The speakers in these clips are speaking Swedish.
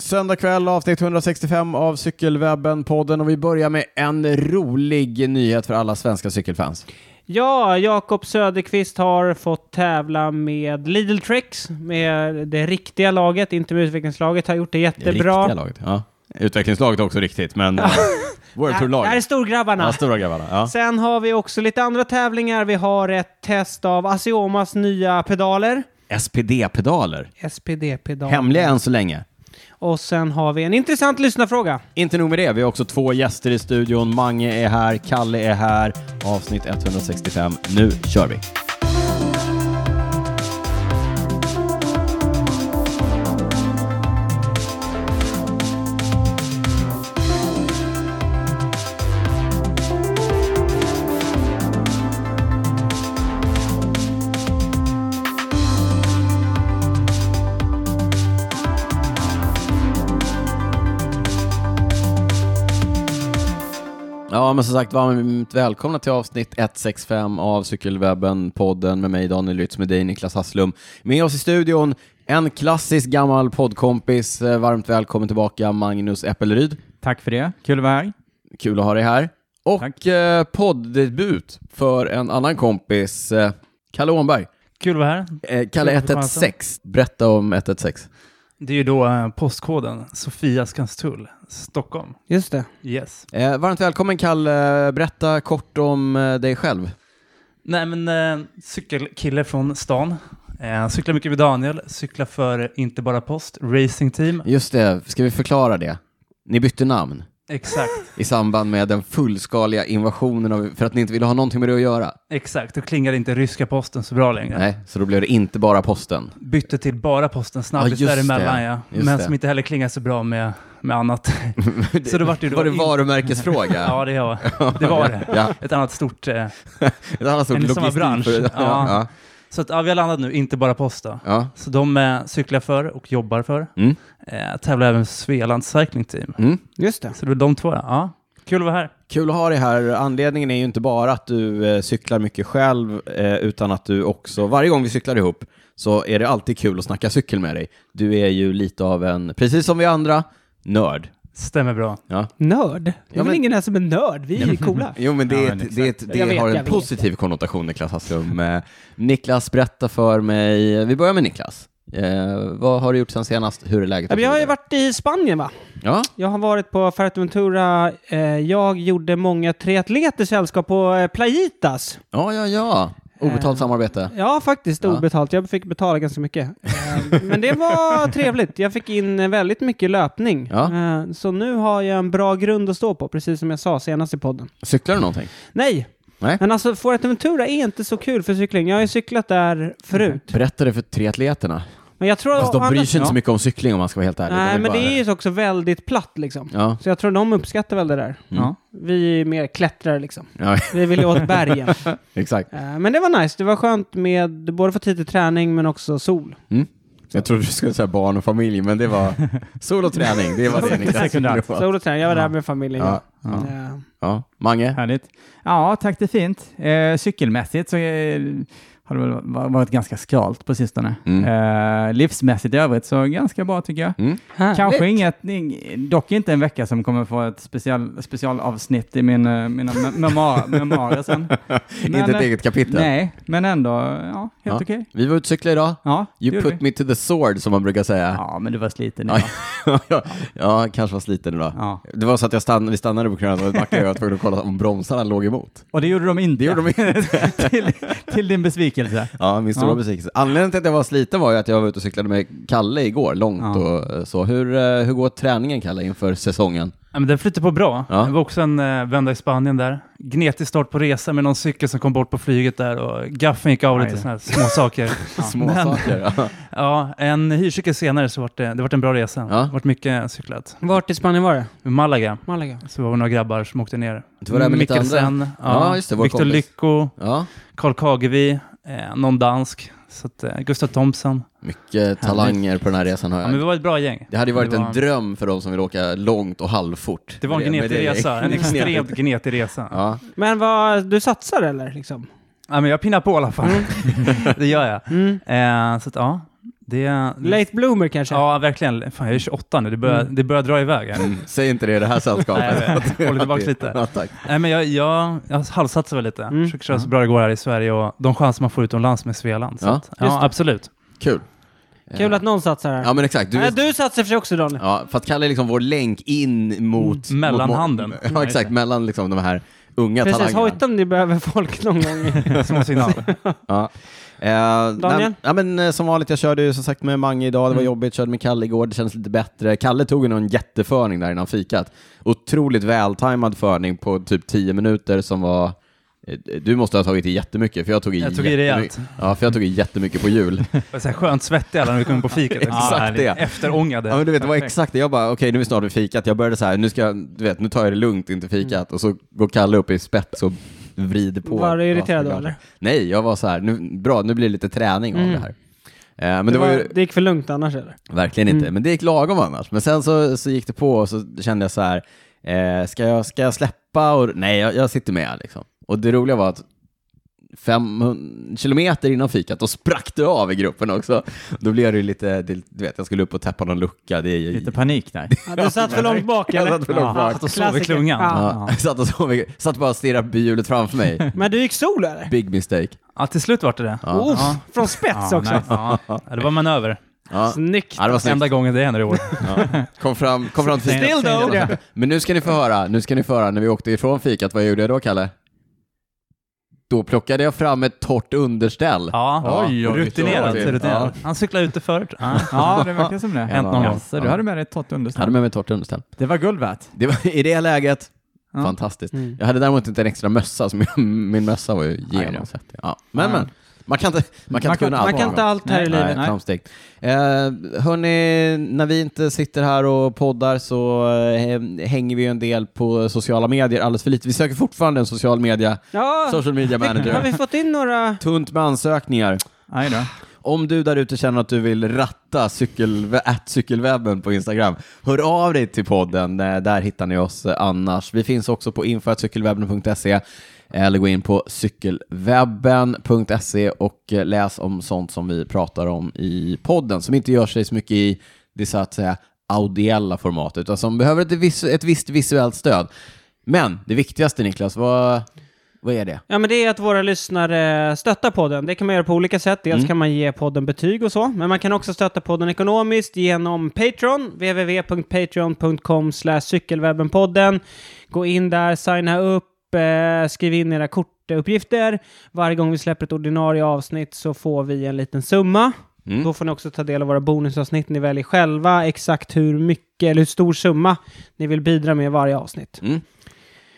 Söndag kväll avsnitt 165 av Cykelwebben-podden och vi börjar med en rolig nyhet för alla svenska cykelfans. Ja, Jakob Söderqvist har fått tävla med Lidl Tricks, med det riktiga laget, inte med utvecklingslaget. Har gjort det jättebra. Riktiga laget. Ja. Utvecklingslaget är också riktigt, men eh, World Det här är Tour-laget. storgrabbarna. Ja, stora grabbarna. Ja. Sen har vi också lite andra tävlingar. Vi har ett test av Asiomas nya pedaler. SPD-pedaler. SPD-pedaler. Hemliga än så länge. Och sen har vi en intressant lyssnarfråga. Inte nog med det, vi har också två gäster i studion. Mange är här, Kalle är här. Avsnitt 165. Nu kör vi! Ja, men som sagt, varmt välkomna till avsnitt 165 av Cykelwebben-podden med mig Daniel Lytz, med dig Niklas Hasslum. Med oss i studion, en klassisk gammal poddkompis. Eh, Varmt välkommen tillbaka, Magnus Äppelryd. Tack för det. Kul att vara här. Mm. Kul att ha dig här. Och Tack. eh, poddebut för en annan kompis, eh, Kalle Åhnberg. Kul att vara här. Eh, Kalle Kul att få chansen. 116, berätta om 116. Det är ju då eh, postkoden Sofia Skanstull, Stockholm. Just det. Yes. Eh, varmt välkommen Kalle, berätta kort om eh, dig själv. Nej, men eh, cykelkille från stan. Eh, cyklar mycket med Daniel, cyklar för inte bara post, racingteam. Just det, ska vi förklara det? Ni bytte namn. Exakt, i samband med den fullskaliga invasionen av, för att ni inte ville ha någonting med det att göra. exakt. Då klingade inte ryska posten så bra längre. Nej, så då blev det inte bara posten. Bytte till bara posten snabbis Ja, just däremellan, det. ja. Just Men det. som inte heller klingar så bra med, med annat. så då vart det ju då... Var det in- varumärkesfråga? Ja, det var det. Var det. Ja, Ett annat stort... Eh, det handlar alltså om En i samma logistik bransch. för- Ja, Ja. ja. så att, ja, vi har landat nu, inte bara post då. ja. Så de eh, cyklar för och jobbar för. Mm. Eh, tävlar även med Svealand Cycling Team. Mm. Just det. Så det är de två. ja. Ja. Kul att vara här. Kul att ha dig här. Anledningen är ju inte bara att du eh, cyklar mycket själv, eh, utan att du också, varje gång vi cyklar ihop, så är det alltid kul att snacka cykel med dig. Du är ju lite av en, precis som vi andra, nörd. Stämmer bra. Nörd? Det är Ja, men- väl ingen här som är nörd? Vi är coola. Jo, men det, Ja, är men ett, exakt. det, är ett, det Jag vet, har jag en vet. positiv konnotation, Niklas Hasslum. Eh, Niklas, berätta för mig. Vi börjar med Niklas. Eh, vad har du gjort sen senast? Hur är läget? Ja, men Jag har ju varit i Spanien va? Ja, Jag har varit på Fuerteventura. Eh, jag gjorde många triatleter sällskap på eh, Playitas. ja, ja. ja. Obetalt Eh, samarbete. Ja, faktiskt Ja. obetalt. Jag fick betala ganska mycket. Eh, Men det var trevligt. Jag fick in eh, väldigt mycket löpning. Ja. Eh, Så nu har jag en bra grund att stå på, precis som jag sa senast i podden. Cyklar du någonting? Nej! Nej. Men alltså, Fuerteventura är inte så kul för cykling. Jag har ju cyklat där förut. Berätta det för triatleterna. Men jag tror... Mm-hmm. Fast de å bryr andra- sig inte så Ja. mycket om cykling om man ska vara helt ärlig. De Nej, vill men det bara- är ju också väldigt platt liksom. Ja. Så jag tror de uppskattar väl det där. Mm. Ja. Vi är mer klättrare liksom. ja, Vi vill ju åt bergen. exakt. Eh, Men det var nice. Det var skönt med både få tid till träning men också sol. Jag trodde du skulle säga barn och familj, men det var sol och träning. Det var det Niklas Sekundärt. skulle vara. Sol och träning. Jag var Ja. där med familjen. Ja, Ja. Eh, ja. Mange? Härligt. Ja, tack det är fint. Eh, cykelmässigt så eh, har det väl va- varit ganska skralt på sistone. Mm. Eh, livsmässigt i övrigt så ganska bra tycker jag. Mm. Härligt. Kanske inget, ing- dock inte en vecka som kommer få ett special, specialavsnitt i min, eh, mina me- memoar- memoarer sen. inte ett eh, eget kapitel. Nej, men ändå, ja, helt Ja. okej. Vi var ute och cyklade idag. Ja, det You gjorde put vi. me to the sword, som man brukar säga. Ja, men du var sliten Ja. idag. ja, jag kanske var sliten idag. Ja. Det var så att jag stann, vi stannade på krönet och backade och jag var tvungen att kolla om bromsarna låg emot. Och det gjorde de Det inte. gjorde de inte. till, till din besvikelse. Ja, min stora Ja. besvikelse. Anledningen till att jag var sliten var ju att jag var ute och cyklade med Kalle igår, långt Ja. och eh, så. Hur, eh, hur går träningen, Kalle, inför säsongen? Ja, men den flyter på bra. Ja. Det var också en eh, vända i Spanien där. Gnetig start på resan med någon cykel som kom bort på flyget där och gaffen gick av Aj lite då. sådana här små saker. Små Men- saker. ja. Ja, en hyrcykel senare så vart det, det vart en bra resa. Ja. Det vart mycket cyklat. Vart i Spanien var det? I Malaga Malaga. så var vi några grabbar som åkte ner. Du var där med lite andra. Mikkelsen, Ja, ja, just det, vår Victor kompis. Lycko, Ja, Karl Kagevi, eh, någon dansk, så att, eh, Gustav Thompson. mycket talanger på den här resan har Ja, men jag. vi var ett bra gäng. Det hade ju varit det var- en dröm för de som vill åka långt och halvfort. Det var en Med med gnetig det- resa, en extremt Gnetigt. gnetig resa. Ja. Ja, Men vad, du satsar eller? Liksom? Mm. men jag pinnar på i alla fall. det gör jag. Mm. Eh, så att, ja, Det är... Late bloomer kanske? Ja, verkligen. Fan, jag är 28 nu. Det börjar, Mm. det börjar dra iväg. här. Säg inte det i det här sällskapet. Nej, jag håller tillbaka Ja, lite. tack. Nej, men jag, jag, jag halvsatsar väl lite. Mm. Försöker köra så bra det går här i Sverige och de chanser man får utomlands med Svealand. Så Ja. ja, att, ja absolut. Kul. Eh, Kul att någon satsar här. Ja, men exakt. du, Du, Nej, du satsar för sig också Daniel. Ja, för att Kalle är liksom vår länk in mot... Mm, mellanhanden. mot- Ja, Ja, just exakt. det. Mellan liksom de här unga Precis, talangerna. hojta om ni behöver folk någon gång. Små signaler. Ja. Eh, Daniel? Mm. nej, ja, men, eh, som vanligt, jag körde ju som sagt med Mange idag, det var jobbigt, körde med Kalle igår, det kändes lite bättre. Kalle tog ju någon jätteförning där innan fikat. Otroligt vältajmad förning på typ 10 minuter som var eh, du måste ha tagit i jättemycket, för jag tog i, Jag tog i rejält. jättemy- Ja, för jag tog i jättemycket på jul. Jag är så här skönt svettig alla när vi kommer på fiket. Exakt härligt. det. Efterångade. Ja, men du vet, det var Perfekt. exakt det. Jag bara, okej, nu är vi snart vid fikat. Jag började så här, nu ska jag, du vet, nu tar jag det lugnt in till fikat. Och så går Kalle upp i spets och vrider på. Mm. Var du irriterad då, Ja, eller? Nej, jag var så här, nu, bra, nu blir det lite träning av Mm. det här. Eh, Men det, var ju det Mm. gick för lugnt annars eller? verkligen inte, men det gick lagom annars. Men sen så, så gick det på och så kände jag så här, eh, ska, jag, ska jag släppa? Och, nej, jag, jag sitter med liksom. Och det roliga var att 500 kilometer innan fikat, då sprack du av i gruppen också. Då blev det ju lite, det- du vet, jag skulle upp och täppa någon lucka. Det är ju, Lite panik där. Ja, du satt för långt bak jag eller? satt för långt Ja. bak. Satt och sov i Klassiker. klungan. Ja. Ja, jag satt, och sov, satt bara och stirrade på bihjulet framför mig. Men du gick sol eller? Big mistake. Ja, till slut vart det det. Ja. Uff, Från spets Ja, också. nice. Ja, det var manöver. Ja. Snyggt. Ja, det var snyggt. Enda gången det händer i år. Kom fram, kom fram till Still though. Ja. Men nu ska ni få höra, nu ska ni få höra när vi åkte ifrån fikat, vad gjorde jag då Kalle? Då plockade jag fram ett torrt underställ. Ja, Oj, oj, rutinerat. oj, oj. rutinerat. Han cyklade ute förut. Ja, det verkar som det. Hänt någon gång. Jaså, du hade med dig ett torrt Jag hade underställ. med mig ett torrt underställ. Det var guld värt. Det var, I det läget, Ja. fantastiskt. Mm. Jag hade däremot inte en extra mössa, så min, min mössa var ju genomsvettig. Ja. Men Ja. men, man kan inte, man kan Man inte kan- kunna Man allt. kan inte allt här i Nej, Nej, livet. Nej. framsteg. Eh, hörni, när vi inte sitter här och poddar så eh, hänger vi ju en del på sociala medier alldeles för lite. Vi söker fortfarande en social media, Ja, social media har manager. vi fått in några? Tunt med ansökningar. Aj då. Om du där ute känner att du vill ratta cykelwe- at cykelwebben på Instagram, hör av dig till podden. Eh, Där hittar ni oss eh, annars. Vi finns också på info.cykelwebben.se eh, eller gå in på cykelwebben.se och eh, läs om sånt som vi pratar om i podden som inte gör sig så mycket i det så att säga audiella format utan som behöver ett, vis- ett visst visuellt stöd. Men det viktigaste Niklas, vad, vad är det? Ja, men det är att våra lyssnare stöttar podden. Det kan man göra på olika sätt. Dels kan man ge podden betyg och så, men man kan också stötta podden ekonomiskt genom Patreon, www.patreon.com cykelwebbenpodden. Gå in där, signa upp, eh, skriv in era kortuppgifter. Varje gång vi släpper ett ordinarie avsnitt så får vi en liten summa. Mm. Då får ni också ta del av våra bonusavsnitt. Ni väljer själva exakt hur mycket eller hur stor summa ni vill bidra med i varje avsnitt. Mm.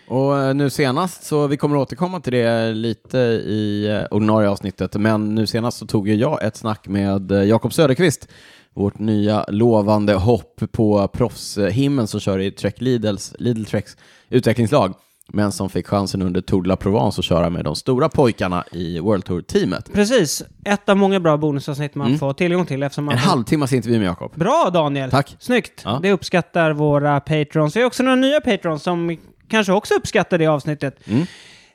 Och eh, nu senast, så vi kommer återkomma till det lite i eh, ordinarie avsnittet, men nu senast så tog ju jag ett snack med eh, Jakob Söderqvist, vårt nya lovande hopp på proffshimlen som kör i Trek Lidls, Lidl Treks utvecklingslag, men som fick chansen under Tour de la Provence att köra med de stora pojkarna i World Tour-teamet. Precis. Ett av många bra bonusavsnitt man Mm. får tillgång till eftersom man... En halvtimmas intervju med Jakob. Bra Daniel! Tack. Snyggt! Ja. Det uppskattar våra patrons. Vi har också några nya patrons som kanske också uppskattar det avsnittet. Mm.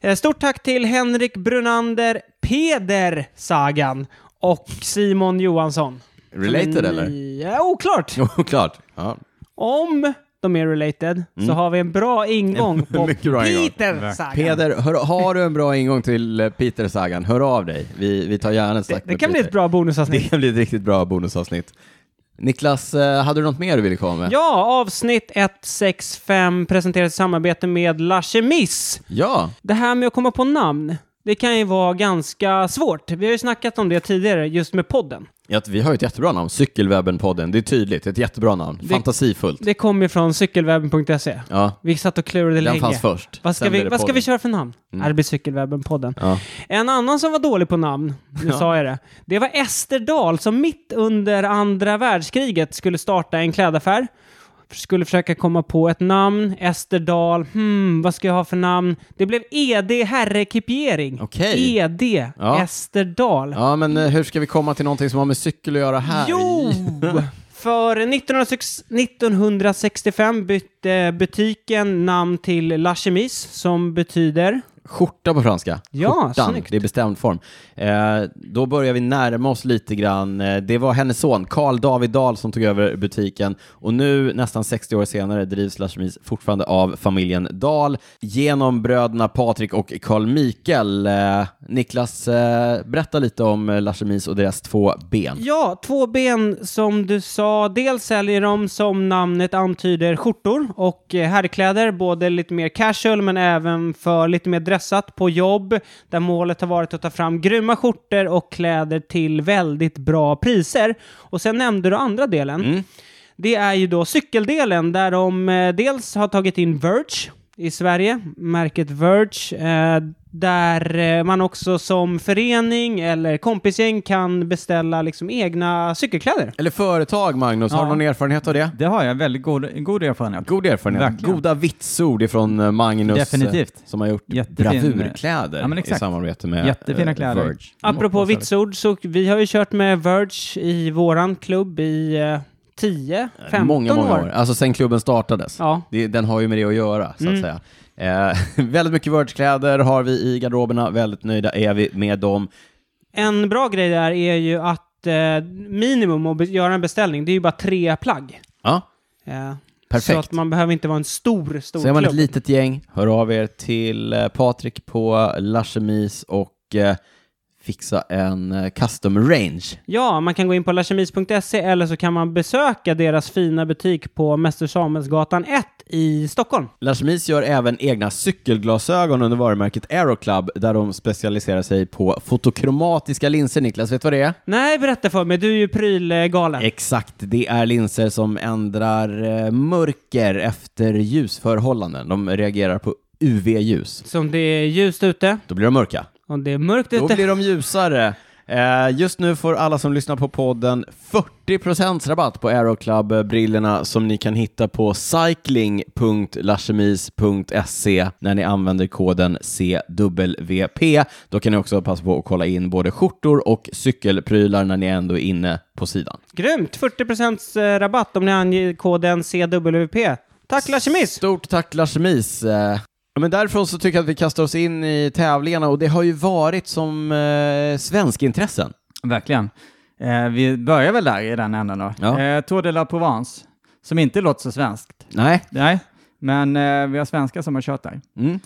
Eh, Stort tack till Henrik Brunander, Peder Sagan och Simon Johansson. Related eller? Ja, oklart! Jo, klart. Ja. Om de är related så har vi en bra ingång på Mm. Mycket bra ingång. Peter Sagan. Peder, hör, har du en bra ingång till eh, Peter Sagan, hör av dig. Vi, vi tar gärna ett snack Det, det med kan bli Peter. ett bra bonusavsnitt. Det kan bli ett riktigt bra bonusavsnitt. Niklas, eh, hade du något mer du ville komma med? Ja, avsnitt 165 presenteras i samarbete med La Chemise. Ja, Det här med att komma på namn, det kan ju vara ganska svårt. Vi har ju snackat om det tidigare, just med podden. ja, vi har ju ett jättebra namn, Cykelwebben-podden. Det är tydligt, ett jättebra namn. Fantasifullt. Det kommer ju från cykelwebben.se. Ja, Vi satt och klurade den länge. fanns först. Vad ska, Sen vi, blev det vad ska vi podden. köra för namn? Mm. det blir cykelwebben-podden. Ja. En annan som var dålig på namn, nu sa jag det, det var Ester Dahl som mitt under andra världskriget skulle starta en klädaffär. Skulle försöka komma på ett namn, Ester Dahl, hmm, vad ska jag ha för namn? Det blev E ED Herrekipiering. Okej. ED Ja. E Ester Dahl. Ja, men eh, hur ska vi komma till någonting som har med cykel att göra här? Jo! För 1906 1965 bytte butiken namn till La Chemise som betyder skjorta på franska. Ja, Skjortan, snyggt. det är bestämd form. Eh, då börjar vi närma oss lite grann. Eh, det var hennes son, Carl David Dahl, som tog över butiken och nu, nästan 60 år senare, drivs Lashmis fortfarande av familjen Dahl genom bröderna Patrik och Carl Mikael. Eh, Niklas, eh, berätta lite om eh, Lashemis och deras två ben. Ja, två ben som du sa. Dels säljer de som namnet antyder skjortor och eh, herrkläder, både lite mer casual men även för lite mer dressat på jobb, där målet har varit att ta fram grymma skjortor och kläder till väldigt bra priser. Och sen nämnde du andra delen. Det är ju då cykeldelen där de eh, dels har tagit in Verge i Sverige, märket Verge, eh, där eh, man också som förening eller kompisgäng kan beställa liksom egna cykelkläder. Eller företag, Magnus. Har du Ja. någon erfarenhet av det? Det har jag väldigt god, god erfarenhet. God erfarenhet. Verkligen. Goda vitsord ifrån eh, Magnus eh, Definitivt. som har gjort Jättefin, bravurkläder eh, ja, men i exakt. samarbete med Jättefina eh, kläder. Verge. Apropå vitsord, så vi har ju kört med Verge i våran klubb i eh, 10, 15 många, många år. år. Alltså sen klubben startades. Ja. Det, den har ju med det att göra, så att säga. Eh, väldigt mycket Verge-kläder har vi i garderoberna. Väldigt nöjda är vi med dem. En bra grej där är ju att eh, minimum att be- göra en beställning, det är ju bara tre plagg. Ja, Eh, Perfekt. Så att man behöver inte vara en stor, stor så är man ett klubb. litet gäng, hör av er till eh, Patrik på Lachemis och eh, fixa en eh, custom range. Ja, man kan gå in på lachemis.se eller så kan man besöka deras fina butik på Mäster Samuelsgatan 1 i Stockholm. Lashmis gör även egna cykelglasögon under varumärket Aeroclub där de specialiserar sig på fotokromatiska linser. Niklas, vet du vad det är? Nej, berätta för mig, du är ju prylgalen. Exakt, det är linser som ändrar eh, mörker efter ljusförhållanden. De reagerar på UV-ljus. Som det är ljust ute Då blir de mörka. och det är mörkt Då ute. blir de ljusare. Eh, Just nu får alla som lyssnar på podden 40% rabatt på Aeroclub-brillorna som ni kan hitta på cycling.lachemis.se när ni använder koden CWP. Då kan ni också passa på att kolla in både skjortor och cykelprylar när ni ändå är inne på sidan. Grymt! 40% rabatt om ni anger koden CWP. Tack Lachemis! Stort tack Lachemis. Eh, ja, Men därifrån så tycker jag att vi kastar oss in i tävlingarna och det har ju varit som eh, svensk intressen. Verkligen. Eh, vi börjar väl där i den änden då. Ja. Eh, Tour de la Provence, som inte låter så svenskt. Nej. Nej, men eh, vi har svenskar som har kört där. Mm.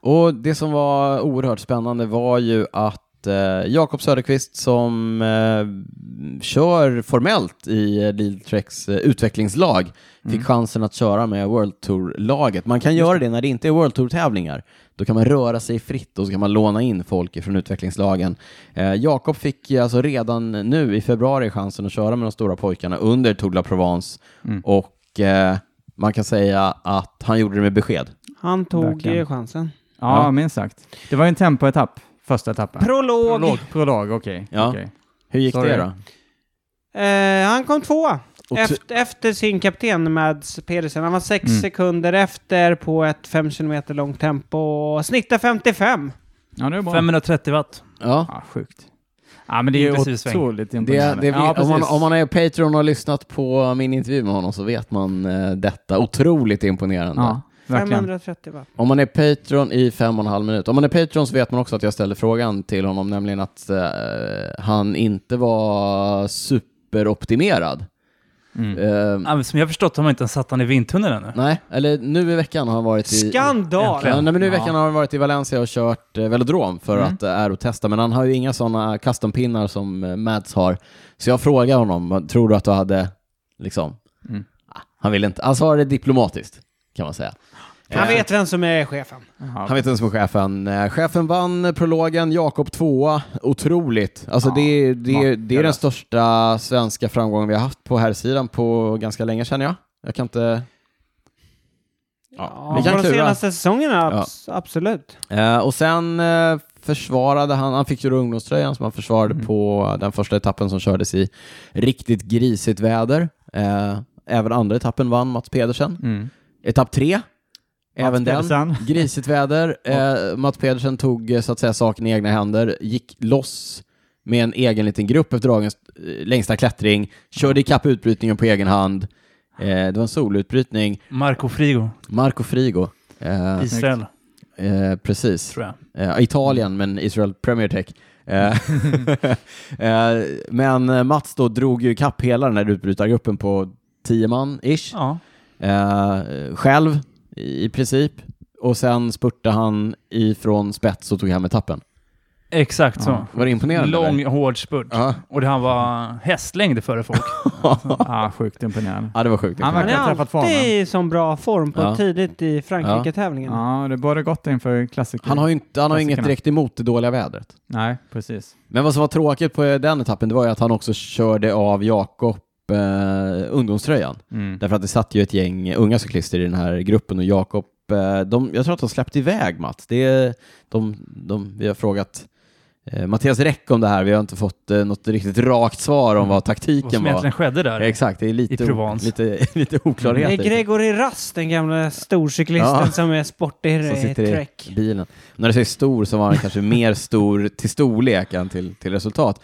Och det som var oerhört spännande var ju att eh, Jakob Söderqvist som eh, kör formellt i eh, Lidl Treks eh, utvecklingslag fick chansen att köra med World Tour-laget. Man kan göra det när det inte är World Tour-tävlingar. Då kan man röra sig fritt och så kan man låna in folk från utvecklingslagen. Eh, Jakob fick ju alltså redan nu i februari chansen att köra med de stora pojkarna under Tour de la Provence och eh, man kan säga att han gjorde det med besked. Han tog Verkligen. eh, chansen. Ja, Ja. minst sagt. Det var ju en tempoetapp, första etappen. Prolog! Prolog, prolog okej. Ja. okej. Hur gick Sorry. det då? Eh, han kom tvåa. Och ty- Efter, efter sin kapten Mads Pedersen. Han var sex sekunder efter på ett 5 km långt tempo. och Snittar 55. Ja, det är bra. 530 watt. Ja. Ja, sjukt. Ja, men det är ju Inklusive sväng. otroligt Det, imponerande. det, ja, om, man, precis. om man är Patreon och har lyssnat på min intervju med honom så vet man eh, detta. Otroligt imponerande. Ja, verkligen. 530 watt. Om man är Patreon i fem och en halv minut. Om man är Patreon så vet man också att jag ställde frågan till honom, nämligen att eh, han inte var superoptimerad. Mm. Eh, Ja, men Som jag förstått har man inte ens satt han i vindtunneln ännu. nej, eller nu i veckan har han varit i... Skandal! Äntligen. Ja, nej, men nu i Ja. veckan har han varit i Valencia och kört eh, velodrom för Mm. att eh, aerotesta, men han har ju inga sådana custom-pinnar som eh, Mads har. Så jag frågar honom, vad tror du att du hade, liksom, Mm. Ah, han vill inte, han svarade diplomatiskt, kan man säga. Han Eh, vet vem som är chefen. han vet inte ens vad chefen. eh, Chefen vann eh, prologen, Jakob tvåa. Otroligt. Alltså Ja, det, är- det, är- det är den makalöst. största svenska framgången vi har haft på här sidan på ganska länge känner jag. Jag kan inte... Ja, vi kan på de klura. senaste säsongerna, abs- absolut. Eh, och sen eh, försvarade han, han fick ju då ungdomströjan som han försvarade på den första etappen som kördes i riktigt grisigt väder. Eh, även andra etappen vann Mats Pedersen. Mm. Etapp tre, även den, Pedersen. grisigt väder. Eh, Mats Pedersen tog eh, så att säga saken i egna händer, gick loss med en egen liten grupp efter dagens eh, längsta klättring, körde ikapp utbrytningen på egen hand. Eh, det var en solutbrytning. Marco Frigo, Marco Frigo. Eh, Israel. Eh, precis. tror jag. Eh, Italien, men Israel Premier Tech. Eh, eh, men eh, Mats då drog ju kapp hela den här utbrytargruppen på tio man-ish. Ja. Eh, själv, i i princip. Och sen spurtade han ifrån spets och tog hem etappen. Exakt så. Ja. Var det imponerande? Lång, eller? hård spurt. Ja. Och det, han var hästlängd före folk. Ah, sjukt imponerande. Ja, det var sjukt. Han Han verkar är ha träffat alltid formen. i sån bra form på Ja. tidigt i Frankrike-tävlingen. Ja, det borde gått inför klassiker. Han har ju inte, han har ju inget Klassikerna. direkt emot det dåliga vädret. Nej, precis. Men vad som var tråkigt på den etappen, det var ju att han också körde av Jakob eh, ungdomströjan. Mm. Därför att det satt ju ett gäng unga cyklister i den här gruppen och Jakob, eh, de, jag tror att de släppte iväg Mats. Det är, de, de, vi har frågat eh, Mattias Räck om det här, vi har inte fått eh, något riktigt rakt svar om vad Vad som taktiken var. egentligen skedde där. Exakt, det är I lite, o- Provence. lite, lite Det är oklarheter. Gregory Rast, den gamla storcyklisten Ja. som är sportig som i sitter i Trek. bilen. När det säger stor så var han kanske mer stor till storlek än till, till resultat.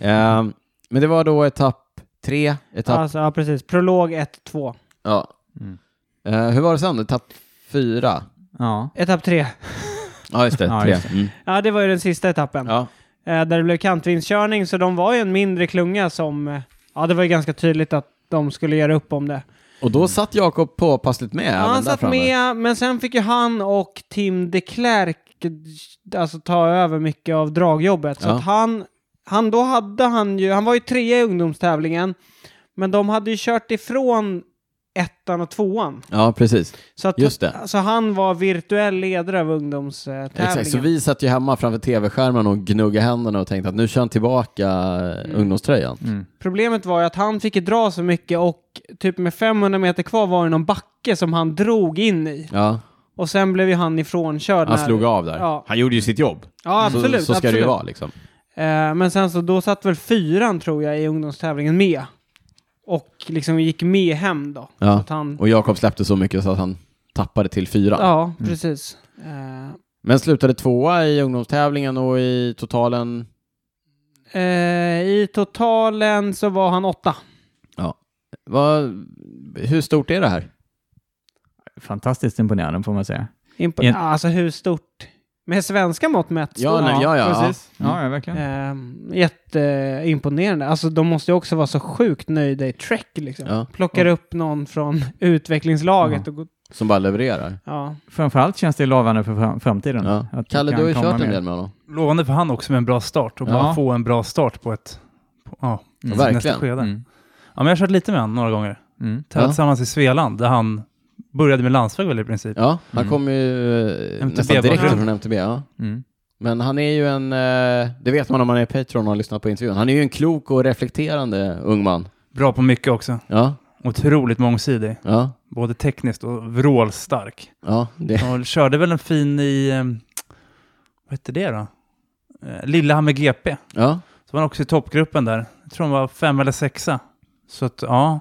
Ehm, men det var då etapp tre, etapp... Alltså, ja, precis. Prolog 1-2. Ja. Mm. Eh, hur var det sen? Etapp fyra? Ja. Etapp 3. Ja, just det. Ja, tre. just Mm. Ja, det var ju den sista etappen. Ja. Eh, där det blev kantvindskörning, så de var ju en mindre klunga som... eh, Ja, det var ju ganska tydligt att de skulle göra upp om det. Och då satt Jakob påpassligt med. Ja, även han där satt framme. med, men sen fick ju han och Tim de Klerk alltså, ta över mycket av dragjobbet. Så Ja. att han, han, då hade han ju, han var ju trea i ungdomstävlingen, men de hade ju kört ifrån ettan och tvåan. Ja, precis. Så att Just det. Alltså, han var virtuell ledare av ungdomstävlingen. Exakt. Så vi satt ju hemma framför tv-skärmen och gnuggade händerna och tänkte att nu kör han tillbaka ungdomströjan. Mm. Problemet var ju att han fick ju dra så mycket och typ med 500 meter kvar var det någon backe som han drog in i. Ja, Och sen blev ju han ifrånkörd. han när- slog av där. Ja. Han gjorde ju sitt jobb. Ja, så, absolut. så ska absolut. det ju vara liksom. Eh, men sen så, då satt väl fyran tror jag i ungdomstävlingen med. Och liksom gick med hem då. Ja. Så att han, Och Jakob släppte så mycket så att han tappade till fyra. ja, precis. Eh, Men slutade tvåa i ungdomstävlingen och i totalen. eh, I totalen så var han åtta. Vad, hur stort är det här? Fantastiskt imponerande får man säga. Imp- En- Alltså hur stort? Med svenska mått mätt. Ja, stort. nej, ja, ja, Mm. ja. precis. Ja, ja verkligen. Eh, jätteimponerande. Alltså de måste ju också vara så sjukt nöjda i Trek liksom. Ja. Plockar upp någon från utvecklingslaget och går... Som bara levererar. Ja. Framförallt känns det lovande för fram- framtiden. Ja. Att det Kalle, kan du har ju komma kört en mer. del med honom. Lovande för han också med en bra start och bara Ja. få en bra start på ett... På, ja, Mm. sitt Verkligen. nästa skede. Mm. Ja, men jag har kört lite med honom några gånger. Mm. Ja. Tävlat tillsammans i Svealand där han började med landsväg väl i princip. Ja, han Mm. kom ju eh, MTB nästan direkt bakgrund. från MTB. Ja. Mm. Men han är ju en, eh, det vet man om man är Patreon och har lyssnat på intervjun, han är ju en klok och reflekterande ung man. Bra på mycket också. Ja, Otroligt mångsidig. ja, Både tekniskt och vrålstark. ja. Det. Och körde väl en fin i... eh, Vad hette det då? Eh, Lillehammer GP. ja. Så var han också i toppgruppen där. Jag tror han var fem eller sexa. Så att, ja.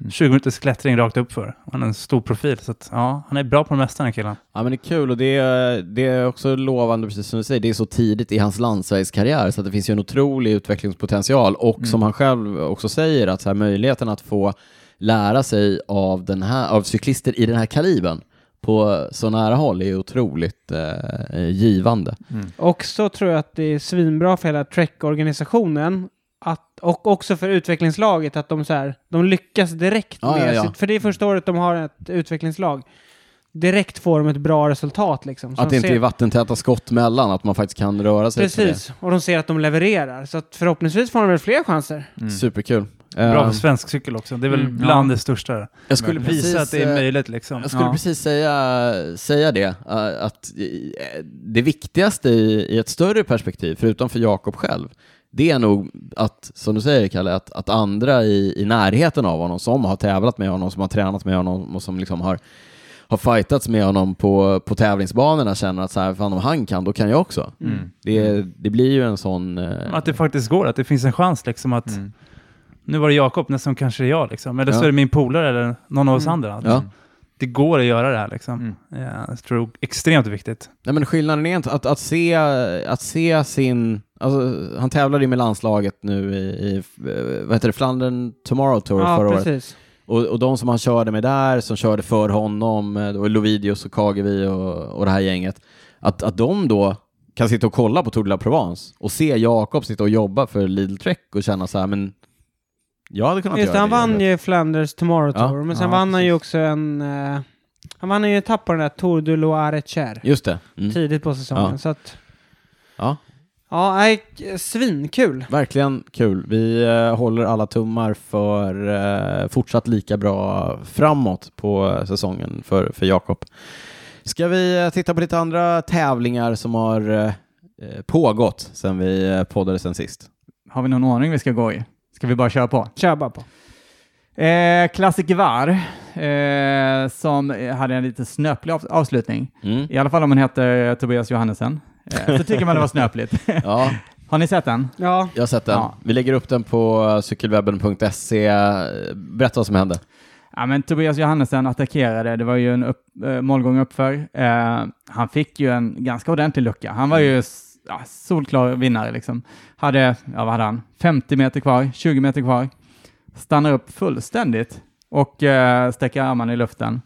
Mm. 20 minuters klättring rakt upp för. Han är en stor profil, så att, ja, han är bra på det mesta den här killen. ja, men det är kul och det är, det är också lovande, precis som du säger, det är så tidigt i hans landsvägskarriär så att det finns ju en otrolig utvecklingspotential och som han själv också säger att så här, möjligheten att få lära sig av, den här, av cyklister i den här kalibern på så nära håll är ju otroligt eh, givande. Och så tror jag att det är svinbra för hela Trek-organisationen. Att, och också för utvecklingslaget att de, så här, de lyckas direkt Ja, med ja, Mm. ja. sitt... För det är första året de har ett utvecklingslag. Direkt får de ett bra resultat liksom. Så Att de det inte ser- är vattentäta skott mellan, att man faktiskt kan röra sig. till det. Precis, och de ser att de levererar. Så att förhoppningsvis får de väl fler chanser. Superkul. Mm. Bra Ehm, för svensk cykel också. Det är väl Mm, bland det största. där. jag skulle Visa precis, att det är eh, möjligt liksom. Jag skulle Ja. precis säga, säga det, eh, att eh, det viktigaste i, i ett större perspektiv, förutom för Jakob själv, det är nog att, som du säger Kalle, att, att andra i, i närheten av honom, som har tävlat med honom, som har tränat med honom och som liksom har, har fightats med honom på, på tävlingsbanorna känner att så här, fan om han kan, då kan jag också. Mm. Det, det blir ju en sån... eh, Att det faktiskt går, att det finns en chans liksom att Mm. nu var det Jakob, nästan kanske det är jag liksom. Eller så Ja. Mm. är det min polare eller någon av oss andra. Att ja. Det går att göra det här liksom. Mm. Ja, jag tror det är extremt viktigt. Nej men skillnaden är inte att, att, se, att se sin, alltså, han tävlade ju med landslaget nu i, i eh, vad heter det, Flandern Tomorrow Tour Ja, förra året. precis. Och, och de som han körde med där, som körde för honom, eh, det var Lovidius och Kagevi och, och det här gänget, att, att de då kan sitta och kolla på Tour de la Provence och se Jakob sitta och jobba för Lidl Trek och känna så här, men jag hade kunnat Just det, göra han det. vann ju Flanders Tomorrow Ja, Tour, men sen ja, vann han ju också en... eh, han vann ju en etapp på den där Tour du Loire Cher Just det. Mm. tidigt på säsongen, Ja. så att... Ja, Ja, nej, k- svinkul. verkligen kul. Vi eh, håller alla tummar för eh, fortsatt lika bra framåt på eh, säsongen för, för Jakob. Ska vi eh, titta på lite andra tävlingar som har eh, eh, pågått sedan vi eh, poddade sen sist? Har vi någon ordning vi ska gå i? Ska vi bara köra på? Kör bara på. Eh, Classic VAR, eh, som hade en lite snöplig av- avslutning. Mm. I alla fall om han heter Tobias Johannesen. Eh, så tycker man det var snöpligt. Ja, Har ni sett den? Ja, Jag har sett den. Ja. Vi lägger upp den på eh, cykelwebben.se. Eh, Berätta vad som hände. Ja, men Tobias Johannesen attackerade. Det var ju en upp, eh, målgång uppför. Eh, han fick ju en ganska ordentlig lucka. Han var ju s- ja, solklar vinnare liksom. Hade, ja vad hade han? 50 meter kvar, 20 meter kvar. Stannar upp fullständigt och eh, sträcker armarna i luften.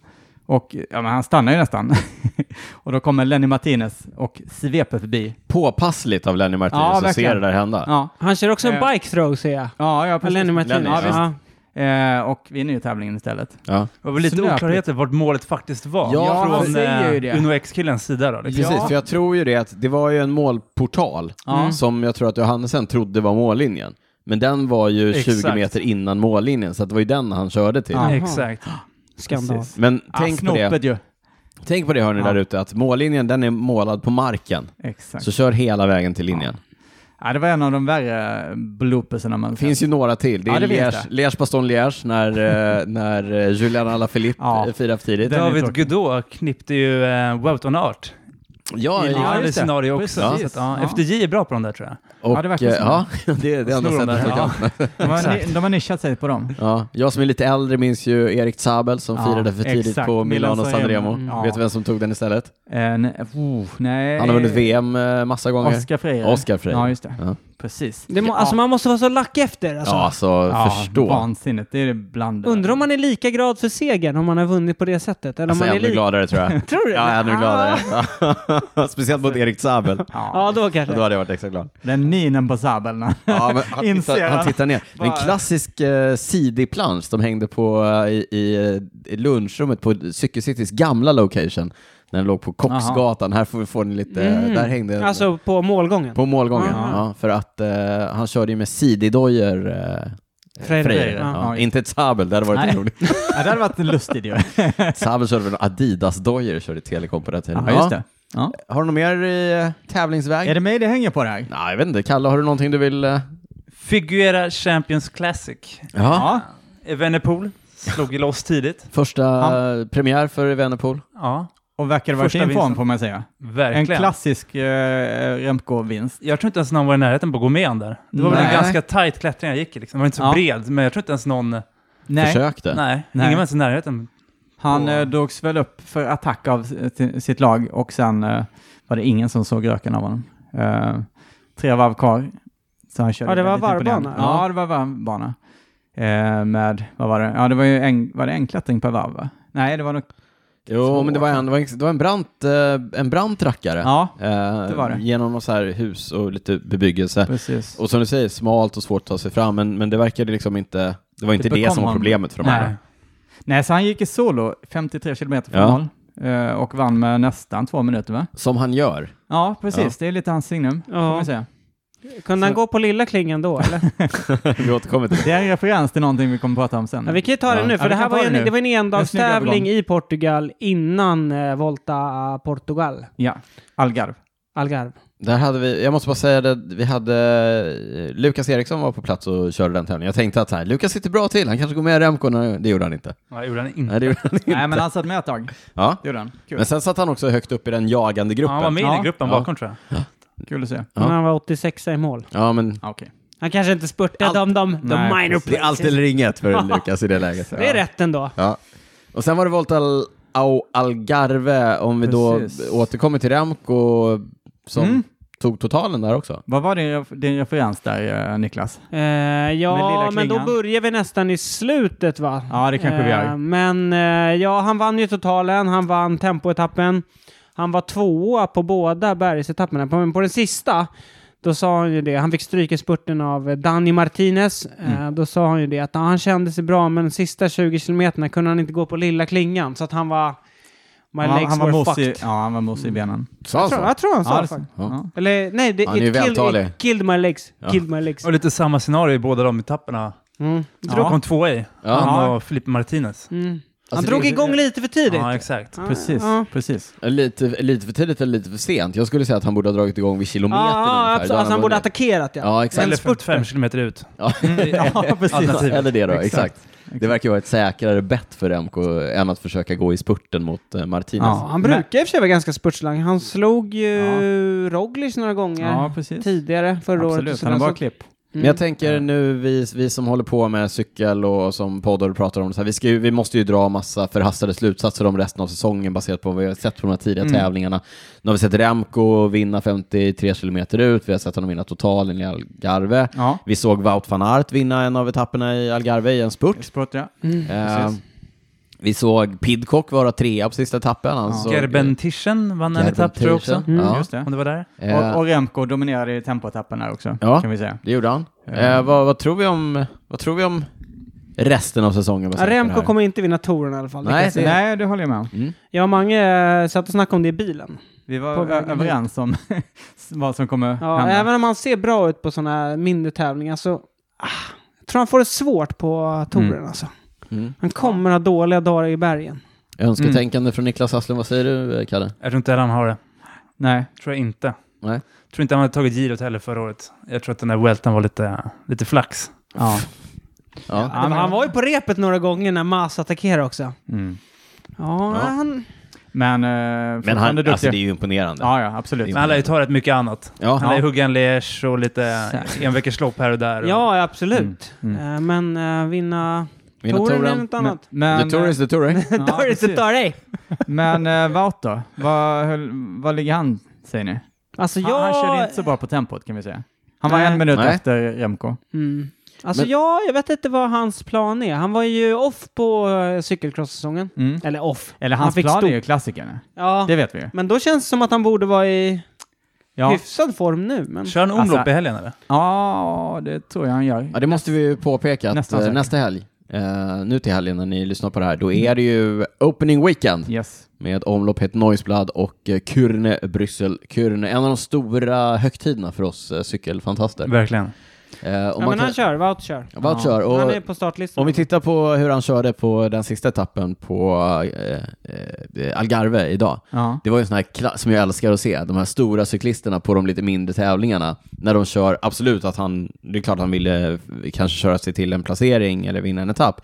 Och ja, men han stannar ju nästan. och då kommer Lenny Martinez och sveper förbi. Påpassligt av Lenny Martinez Ja, att se verkligen. det där hända. Ja, han kör också en Eh. bike throw ser jag. ja, ja precis. Lenny Martinez. Lenny, Ja. Eh, och vinner ju tävlingen istället. Ja. Det var väl lite Snöpligt. oklarheter vart målet faktiskt var. Ja, han från säger ju det. eh, Uno X-killens sida då. Liksom. Precis, för jag tror ju det att det var ju en målportal Ja. som jag tror att Johannesen trodde var mållinjen. Men den var ju Exakt. 20 meter innan mållinjen, så att det var ju den han körde till. Ja. Jaha. Exakt. Skandal. Precis. Men Ah, tänk, på det. snopet ju. tänk på det hörni Ja. där ute, att mållinjen den är målad på marken. Exakt. Så kör hela vägen till linjen. Ja, det var en av de värre blooperserna man Det finns ju några till. Det är Ja, det finns Liège, Liège Baston Liège när, eh, när eh, Julian Alaphilippe Ja. ja. firar för tidigt. Den är David tråkig. Gudeau knippte ju eh, Wout on Art. Ja, I Ja, liknande just det. scenario också. Precis. Så att, ja, Ja. FDJ är bra på de där tror jag. Och, Ja, det verkar eh, så. ja, det är det enda Snor de sättet där, man kan. ja. De har, Exakt. ni- de har nischat sig på dem. Ja, jag som är lite äldre minns ju Erik Zabel som Ja, firade för tidigt exakt. på Milano Milano San Remo. Sanremo. Mm. Vet Ja. du vem som tog den istället? Eh, ne- oh, nej. Han har vunnit VM eh, massa gånger. Oscar Freire. Oscar Freire. Ja, just det. Ja. Precis. Det må, Alltså man måste vara så lack efter alltså. Ja, alltså förstå. Vansinnigt. Det är det bland... Undrar om man är lika glad för segern om man har vunnit på det sättet. Eller om Alltså, man jag är är ännu lika... gladare tror jag. Tror du? Ja, jag är ännu Ah. gladare. Speciellt mot Erik Zabel. Ja, Ja, då kanske. Då hade jag varit extra glad. den minen på Zabel. Ja, men han, Inser tittar, han han. tittar ner. Det är en Bara- klassisk eh, sidig plansch de hängde på eh, i, i, eh, lunchrummet på Cykelcitys gamla location. När den låg på Kopsgatan. Här får, vi- får ni lite, Mm. där hängde den Alltså på målgången. på målgången. Aha. Ja, för att eh, han körde ju med sididojer eh, Freire. Freire. Ja. Ja, inte ett Sabel, det hade varit Nej. roligt. ja, det hade varit en lustig ju. Sabel körde väl Adidas-dojor körde Telekom på den tiden. Ja, just det. Ja. Ja. Har du något mer i eh, tävlingsväg? Är det mig det hänger på det här? Nej, jag vet inte. Kalle, har du någonting du vill... eh, Figuera Champions Classic. Ja. Ja. Evenepoel slog ju loss tidigt. Första eh, premiär för Evenepoel. Ja, Och verkar vara i Första fin form vinsten. får man säga. En verkligen. klassisk eh, Remco-vinst. Jag tror inte ens någon var i närheten på att gå med han där. Det var väl en Nej. ganska tight klättring jag gick i, liksom. Den var inte så Ja. bred, men jag tror inte ens någon... Nej, Försökte. ingen Nej. var ens i närheten. Han Och- eh, drogs väl upp för attack av eh, ti- sitt lag och sen eh, var det ingen som såg röken av honom. Eh, tre varv kvar. Så han körde Ja, det var väldigt varvbana, imponerande. ja. Ja, det var varvbana. Eh, med, vad var det? Ja, det var ju en, var det en klättring per varv, va? Nej, det var nog... Jo, Så- men det var en, det var en, det var en, brant, eh, en brant rackare. Ja, Eh, det var det. Genom någon så här hus och lite bebyggelse. precis. Och som du säger, smalt och svårt att ta sig fram, men, men det verkade liksom inte... Det var inte det, bekom som var han. problemet för de andra. Nej. Nej, så han gick i solo 53 kilometer från Ja. mål eh, och vann med nästan två minuter, va? Som han gör. Ja, precis. Ja. Det är lite hans signum, får Ja. man säga. Kunde han Så- gå på lilla klingan då eller? Mm. Vi återkommer till det. Det är en referens till någonting vi kommer prata om sen. Ja, vi kan ju ta Ja. det nu, Ja, för vi det kan här ta var ju det en, nu. det var en endagstävling övergång. i Portugal innan eh, Volta Portugal, Ja, Algarve. Algarve. Där hade vi, jag måste bara säga det, vi hade eh, Lukas Eriksson var på plats och körde den tävlingen. Jag tänkte att så här, Lukas sitter bra till, han kanske går med i Remco. när- Det gjorde han inte. Nej, det gjorde han inte. Nej, det gjorde han inte. Nej, men han satt med ett tag. Ja. Det gjorde han. Kul. Men sen satt han också högt upp i den jagande gruppen. Han var med i Ja. den gruppen Ja. bakom tror jag. Kul att se. Ja. Men han var 86 i mål. Ja, men Okej. Han kanske inte spurtade Allt- om de, de Nej, minor det är allt eller inget för Lukas i det läget. Det är rätt ändå. Ja. Och sen var det Volta Al- Au Algarve, om vi Precis. då återkommer till Remco som Mm. tog totalen där också. Vad var din, ref- din referens där, eh, Niklas? Eh, Med ja, lilla men då klingan. börjar vi nästan i slutet va? eh, Ja, det kanske vi gör. Men eh, ja, han vann ju totalen, han vann tempoetappen. Han var tvåa på båda bergsetapperna, på- men på den sista då sa han ju det, han fick stryk i spurten av eh, Dani Martinez. Eh, Mm. Då sa han ju det att ja, han kände sig bra, men de sista 20 kilometerna kunde han inte gå på lilla klingan. Så att han var... My han, legs han var were mosig- fucked. ja, han var mosig i benen. Sa Jag han tror, så? jag tror han sa Ja, det det- faktiskt. ja. Eller nej, det, Han är ju it, killed, vältalig. it killed my legs. Ja. Killed my legs. Och lite samma scenario i båda de etapperna. Mm. Drog kom två i. Ja. Han och Filipe Martinez. Mm. Han Alltså, drog det- igång lite för tidigt. Ja, exakt. Ja, Precis, Ja. precis. Lite, lite för tidigt eller lite för sent? Jag skulle säga att han borde ha dragit igång vid Ja, kilometern ja, ungefär. absolut. Då hade alltså han borde ha vunnit. attackerat ja. Ja, exakt. Eller spurt- 55 kilometer ut. Ja. Ja, precis. Alternativ. Eller det då, exakt. Exakt. Det verkar ju vara ett säkrare bett för Remco än att försöka gå i spurten mot eh, Martinez. Ja. Han brukar i och för sig vara ganska spurtslang. Han slog ju Roglic några gånger Ja, precis. tidigare förra året. och Absolut, sådär. han har bra Så- klipp. Men jag tänker nu, vi, vi som håller på med cykel och som poddar och pratar om det så här, vi, ska ju, vi måste ju dra massa förhastade slutsatser om resten av säsongen baserat på vad vi har sett på de här tidiga tävlingarna. Nu har vi sett Remco vinna 53 kilometer ut, vi har sett honom vinna totalen i Algarve. Ja, Vi såg Wout van Aert vinna en av etapperna i Algarve i en spurt. sprått ja. Eh, precis. vi såg Pidcock vara trea på sista etappen. Han såg- eh, Gerben Tischen vann en Gerben etapp tror jag också. Tischen. Ja. Just det. Om det var där. Eh, Och, och Remco dominerade i tempoetappen där också, Ja. kan vi säga. Det gjorde han. Ja. Eh, vad, vad, tror vi om, vad tror vi om resten av säsongen? baserat på det Remco här? kommer inte vinna touren i alla fall. Det Nej, kan jag säga. Nej, det håller jag med om. Mm. Jag och Mange eh, satt och snackade om det i bilen. Vi På var vägen ö- överens om vad som kommer Ja, hända. Även om han ser bra ut på sådana här mindre tävlingar så ah, jag tror han får det svårt på touren alltså. Mm. Han kommer ha dåliga dagar i bergen. Önsketänkande från Niklas Hasslund, vad säger du eh, Kalle? Jag tror inte heller han har det. Nej, Tror jag inte. Nej. Tror inte han hade tagit girot heller förra året. Jag tror att den där welten var lite, lite flax. ja. Ja. Ja, men- Han var ju på repet några gånger när Mas attackerade också. Mm. Ja, Han, Men, eh, Men han, fortfarande duktig. alltså det är ju imponerande. Ja, ja, absolut. Det Men han lär ju ta rätt mycket annat. Ja. Han lär ju hugga en leash och lite Säkert. enveckorslopp här och där. Och ja absolut. Mm, Eh, Men eh, vinna Vinna touren är touren. något annat. The Men, tour is the tour, eh? ja, Då är det precis. så tar dig. men eh, Wout då? Vad, höll- vad ligger han, säger ni? Alltså Han, han körde jag... inte så bra på tempot kan vi säga. Han var Nej. en minut eh, Nej. efter Remco. Mm. Alltså Men- jag, jag vet inte vad hans plan är. Han var ju off på eh, cykelcross-säsongen. Mm. Eller off. Eller hans fick plan stå- är ju klassikern. Ja. Det vet vi ju. Men då känns det som att han borde vara i Ja. hyfsad form nu. Men... Kör han omlopp Alltså- i helgen eller? ja, det tror jag han gör. Ja, det måste vi ju påpeka att Nästan eh, säkert. nästa helg, eh, nu till helgen när ni lyssnar på det här, då är det ju opening weekend. Yes. Med omlopp Het Noisblad och eh, Kürne Bryssel Kürne. En av de stora högtiderna för oss eh, cykelfantaster. Verkligen. Eh, och Ja, man men han kan... kör, Wout kör. Wout kör. Han Och är på startlistan. om vi tittar på hur han körde på den sista etappen på eh, eh, Algarve idag. Ja. Det var ju en sån här klass som jag älskar att se, de här stora cyklisterna på de lite mindre tävlingarna. När de kör, absolut att han, det är klart han ville eh, kanske köra sig till en placering eller vinna en etapp.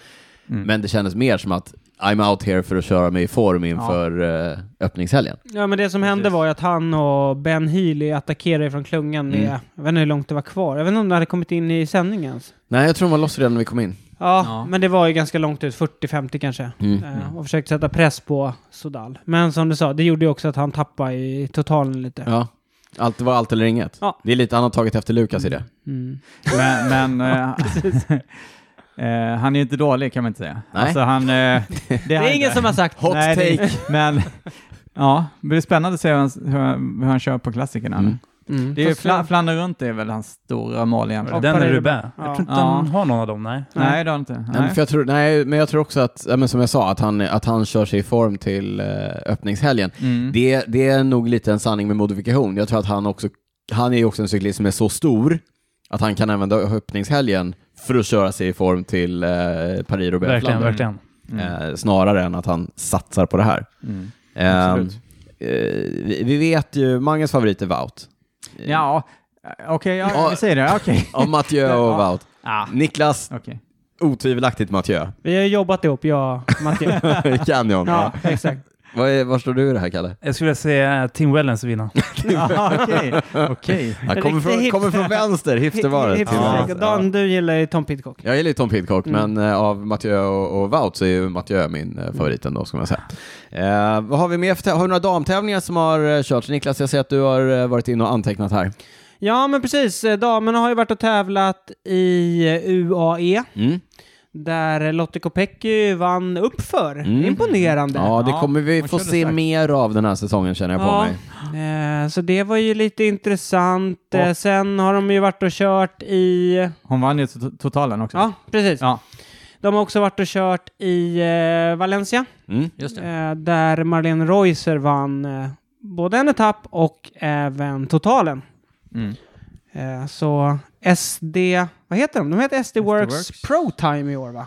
Mm. Mm. Men det kändes mer som att I'm out here för att köra mig i form inför eh, öppningshelgen. Ja, men det som hände var ju att han och Ben Healy attackerade från klungan med, jag vet inte hur långt det var kvar. Jag vet inte om det hade kommit in i sändningen ens. Nej, jag tror de var loss redan när vi kom in. Ja, Ja. men det var ju ganska långt ut, 40-50 kanske. Mm. Eh, och försökte sätta press på Sodal. Men som du sa, det gjorde ju också att han tappade i totalen lite. Ja. Allt, det var allt eller inget. Ja. Det är lite annat taget efter Lukas i det. Mm. Men, men eh, eh, han är inte dålig kan man inte säga. Nej. Alltså, han, eh, det, Det är ingen som har sagt. Hot Nej, det- take! Men ja, det blir spännande att se hur han, hur han, hur han kör på klassikerna. Mm. Mm. Det är ju Fast- fla, flander runt är väl hans stora mål egentligen. Och Den är Paris- Roubaix. Ja. Jag tror inte Ja. han har någon av dem, nej. Nej, det har han inte. Nej. Nej. men för jag tror, nej, men jag tror också att, ja, men som jag sa, att han, att han kör sig i form till eh, öppningshelgen. Mm. Det, det är nog lite en sanning med modifikation. Jag tror att han också, han är ju också en cyklist som är så stor att han kan använda öppningshelgen för att köra sig i form till eh, Paris och Verkligen, Belfland. verkligen. Mm. Eh, snarare än att han satsar på det här. Mm. Eh, eh, Absolut. vi vi vet ju, Manges favorit är Wout. Eh, Ja, okej, ja, Ja. vi säger det. Okej. Ja, Mathieu Eh, och Ja. Wout. Ah, Niklas, okej. otvivelaktigt Mathieu. Vi har ju jobbat ihop, jag och Mattias. Canyon. ja, Ja. exakt. Var, är, var står du i det här, Kalle? Jag skulle vilja se eh, Tim Wellens vinna. Ah, Okej, okej. Han En kommer riktig från, hipster. kommer från vänster, hipstervaret. Hipster. Ja. Ja. Dan, du gillar ju Tom Pidcock. Jag gillar ju Tom Pidcock, Mm. men eh, av Mathieu och, och Wout så är ju Mathieu min eh, favorit ändå, ska man säga. Eh, vad har vi mer för tä- Har du några damtävlingar som har eh, körts? Niklas, jag ser att du har eh, varit inne och antecknat här. Ja, men precis. Eh, Damerna har ju varit och tävlat i eh, UAE. Mm. där Lotte Kopecky vann uppför. Imponerande. Ja, det Mm. Ja, kommer vi hon få körde se starkt. mer av den här säsongen känner jag på mig. Eh, så det var ju lite intressant. Eh, sen har de ju varit och kört i... Hon vann ju to- totalen också. Ja, precis. Ja. De har också varit och kört i eh, Valencia, Mm. eh, där Marlene Reusser vann eh, både en etapp och även totalen. Mm. Eh, så SD... Vad heter de? De heter SD, Works, Works. Pro Time i år, va?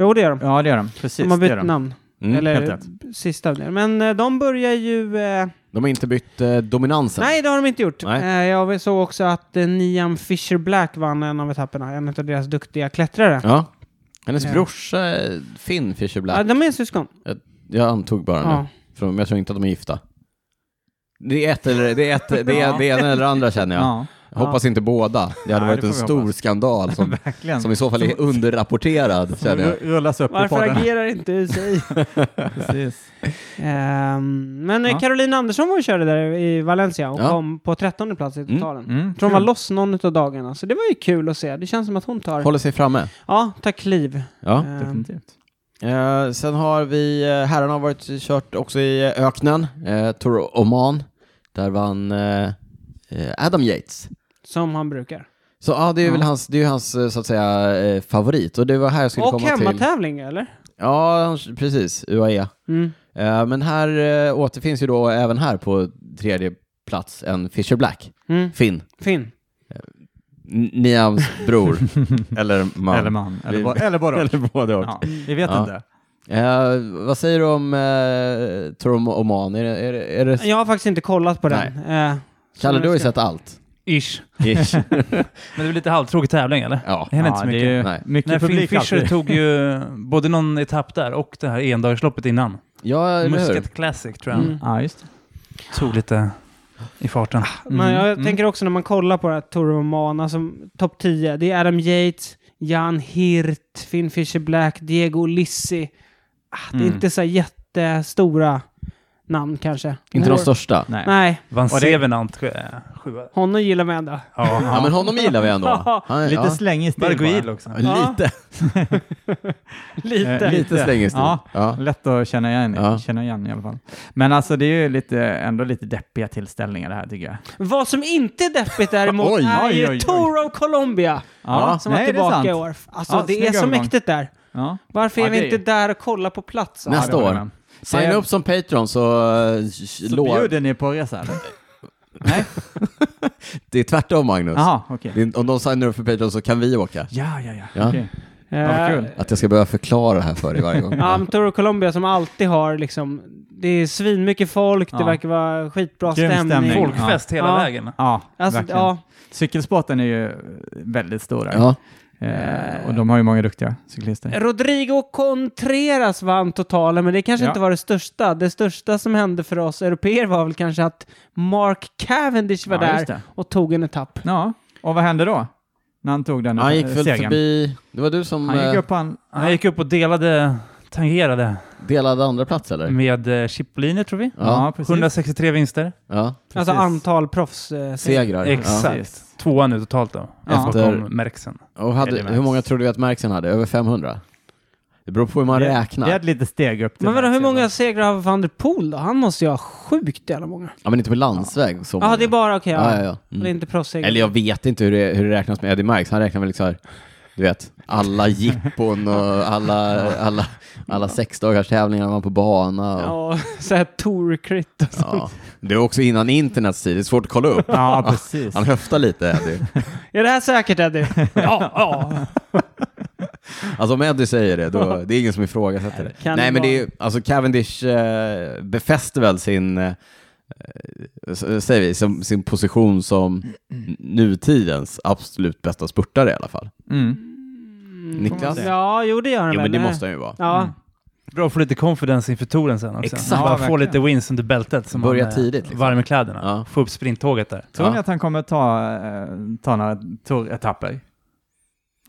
Jo, det gör de. Ja, det gör de. Precis, de har det bytt gör de. namn. Mm, helt Eller rätt. sista av det. Men eh, de börjar ju... Eh, De har inte bytt eh, dominansen. Nej, det har de inte gjort. Nej. Eh, jag såg också att eh, Niam Fisher Black vann en av etapperna, en av deras duktiga klättrare. Ja. Ja. Hennes Ja. brorsa, eh, Finn Fisher Black. de är syskon. Jag antog bara Ja. nu. För de- jag tror inte att de är gifta. Det är ett eller det är ett, det är, det ena eller det andra känner jag. Ja, Jag Hoppas inte båda. Det hade Nej, varit det en får vi stor hoppas. skandal som, verkligen. som i så fall är underrapporterad. Känner jag. Ru- rullas upp i Varför podden. agerar inte UCI? Precis. Ehm, men eh, Ja. Caroline Andersson var och körde där i Valencia och Ja. kom på trettonde plats i totalen. Mm, Jag tror hon var kul. loss någon av dagarna, så det var ju kul att se. Det känns som att hon tar, Håller sig framme. ja, tar kliv. Ja. Ehm, Definitivt. Eh, sen har vi, eh, herrarna har varit kört också i eh, öknen, eh, Tour Oman. Där vann eh, eh, Adam Yates. som han brukar. Så ja, det är väl Ja. hans, det är ju hans eh, så att säga eh, favorit. Och det var här jag skulle Och komma till. hemmatävling, eller? Ja, han- precis. UAE. Mm. Eh, men här eh, återfinns ju då även här på tredje plats en Fisher Black, Mm. Finn. Finn. N- Niams bror. Eller man. Eller man. Eller, Vi- bo- eller både och. Eller både och. Ja, vi vet Ja. inte. Eh, vad säger du om eh, Tour Oman? Är det, är det, är det... Jag har faktiskt inte kollat på den. Eh, så Kalle, jag du har ju ska- sett allt. Ish. Ish. Men det blir lite halvtråkig tävling, eller? ja. Det händer Ja, inte så det mycket. är ju Nej. mycket Nej, Finn publik Fischer alltid. tog ju både någon etapp där och det här endagarsloppet innan. ja, eller hur? Muscat Classic tror jag. Mm. Ja, just det. Tog lite i Ah, farten. Men jag Mm. tänker också när man kollar på det här Tour of Oman, alltså topp 10, det är Adam Yates, Jan Hirt, Finn Fisher Black, Diego Lissi. Ah, det är Mm. inte så här jättestora namn kanske. Inte de Vår- största. Nej. Nej, Van Och det- Sevenant sjö- sjua. honom gillar man Eh, ändå. Ja, men honom gillar vi ändå. Han, Lite ja. släng i stil Berguil bara. också. Ja. Lite, Lite. Eh, lite släng i stil. Ja. Ja. Lätt att känna igen, Ja. känna igen i alla fall. Men alltså det är ju lite, ändå lite deppiga tillställningar det här tycker jag. Vad som inte är deppigt däremot Oj, är oj, ju oj, oj. Tour of Colombia. Ja, Som var tillbaka i år. Alltså Ja, det är snygg så övergång. mäktigt där. Ja. Varför är Ja, vi det inte är- där och kollar på plats? Nästa Ja, det håller år. jag med. Signa upp som Patreon så, eh, Så lår... bjuder ni på resa eller? Det är tvärtom Magnus. Jaha, okej. Det är- Om de signar upp för Patreon så kan vi åka. Ja, ja, ja. Ja. Okej. Eh, vad kul. Att jag ska behöva förklara det här för dig varje gång. Ja, men Tour of Colombia som alltid har liksom, det är svinmycket folk, det Ja. verkar vara skitbra Grym stämning. stämning. Folk. Folkfest hela Ja. vägen. Ja, Alltså, verkligen. ja, Cykelsporten är ju väldigt stor där. Ja. Eh, och de har ju många duktiga cyklister. Rodrigo Contreras vann totalen, men det kanske Ja. inte var det största. Det största som hände för oss europeer var väl kanske att Mark Cavendish var Ja, just där det. och tog en etapp. Ja, och vad hände då? När han tog den Han gick eh, väl segern? förbi... Det var du som Han gick eh, upp på en... Han gick upp och delade, tangerade delade andra plats eller? med eh, Chipolini tror vi. Ja, Ja. precis. 163 vinster. ja. Alltså Precis. antal proffs. eh, Segrar. Exakt. Precis. Tvåa nu totalt då. Ja. Bakom Merksen. Ja. Och hade, Eddie hur många Merckx. trodde vi att Merksen hade? Över 500? Det beror på hur man Det- Det är räknar. ett litet steg upp. till Men vadå, hur Merckx, många eller? segrar har van der Poel då? Han måste ju ha sjukt jävla många. Ja, men inte på landsväg. så Ja, många. det är bara okej. Ja, ja, ja. ja. Det är Mm. inte proffssegrar. Eller jag vet inte hur det, hur det räknas med Eddie Marks. Han räknar väl liksom här, du vet, alla jippon och alla, alla, alla sexdagarstävlingar man var på bana. Och, ja. Ja, såhär Tour-crit och sånt. Det var också innan internets tid. Det är svårt att kolla upp. Ja, precis. Han höftar lite, Eddie. Är det här säkert Eddie? ja, ja. Alltså om Eddie säger det, då, det är ingen som ifrågasätter det. Kan Nej, det men det är vara- ju, alltså Cavendish eh, befäster väl sin, eh, s- säger vi, som, sin position som n- nutidens absolut bästa spurtare i alla fall. Mm. Niklas? Ja, jo det gör han Jo, men väl. det måste han ju vara. Ja, Bra för lite confidence inför touren sen också. Exakt. Bara Ja, få verkligen. lite wins under bältet. Så Börja man, eh, tidigt, liksom. Varm i kläderna. Ja. Få upp sprinttåget där. Tror ni Ja. att han kommer ta, eh, ta några touretapper?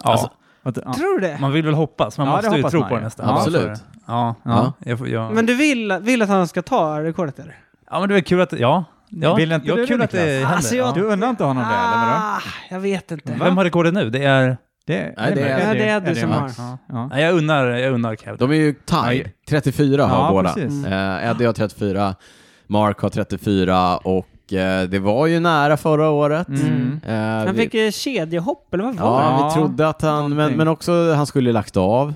Ja. Alltså, Att- ja. tror du det? man vill väl hoppas. Man Ja, det måste ju hoppas tro man på ju. det nästan. Alltså, Ja, absolut. Ja. Ja. Jag, får- jag, Men du vill, vill att han ska ta rekordet eller? ja, men det är väl kul att... Ja. ja. Vill inte ja, du det, kul att det Niklas? händer. Alltså, jag- ja. Du undrar inte honom det, eller vadå? jag vet inte. Vem har rekordet nu? Det är Det, Nej, det är- Max? Ja, det är du det som Max? har. Ja. Ja. Nej, jag unnar, jag unnar Kev. De är ju tied. 34 har Ja, båda. precis. Eh, Eddie har 34, Mark har 34 och eh, det var ju nära förra året. Mm. Eh, Han vi- fick ju kedjehopp, eller vad var det? Ja, Ja, vi trodde att han, men, någonting. men också han skulle lagt av.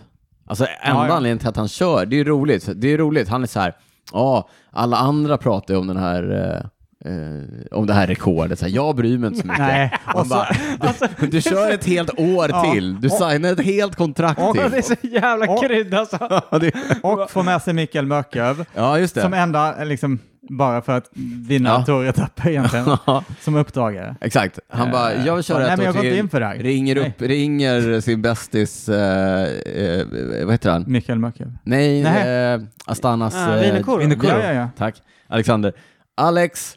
Alltså enda Ja, ja. anledningen till att han kör, det är ju roligt. Det är ju roligt, han är så här, ja, alla andra pratar ju om den här eh, eh, om det här rekordet, så här, jag bryr mig inte så mycket. Nej, Alltså, Man bara, du, du kör ett helt år Ja. till, du signar ett helt kontrakt Och- Det är till. så jävla Ja. krydda alltså. Ja, det- Och får med sig Mikael Mörköv Ja, just som det. enda, eh, liksom, bara för att vinna Ja. Tour-etapper egentligen, Ja, som uppdragare. Exakt. Han Eh, bara, jag vill köra nej, ett men jag år går inte till. in för det här. Ringer Nej. upp, ringer sin bästis, eh, eh, vad heter han? Mikael Mörköv. Nej, Nej. Eh, Astanas... Ah, eh, Wienerkorv. Wienerkorv. Ja, ja, ja. Tack. Alexander. Alex,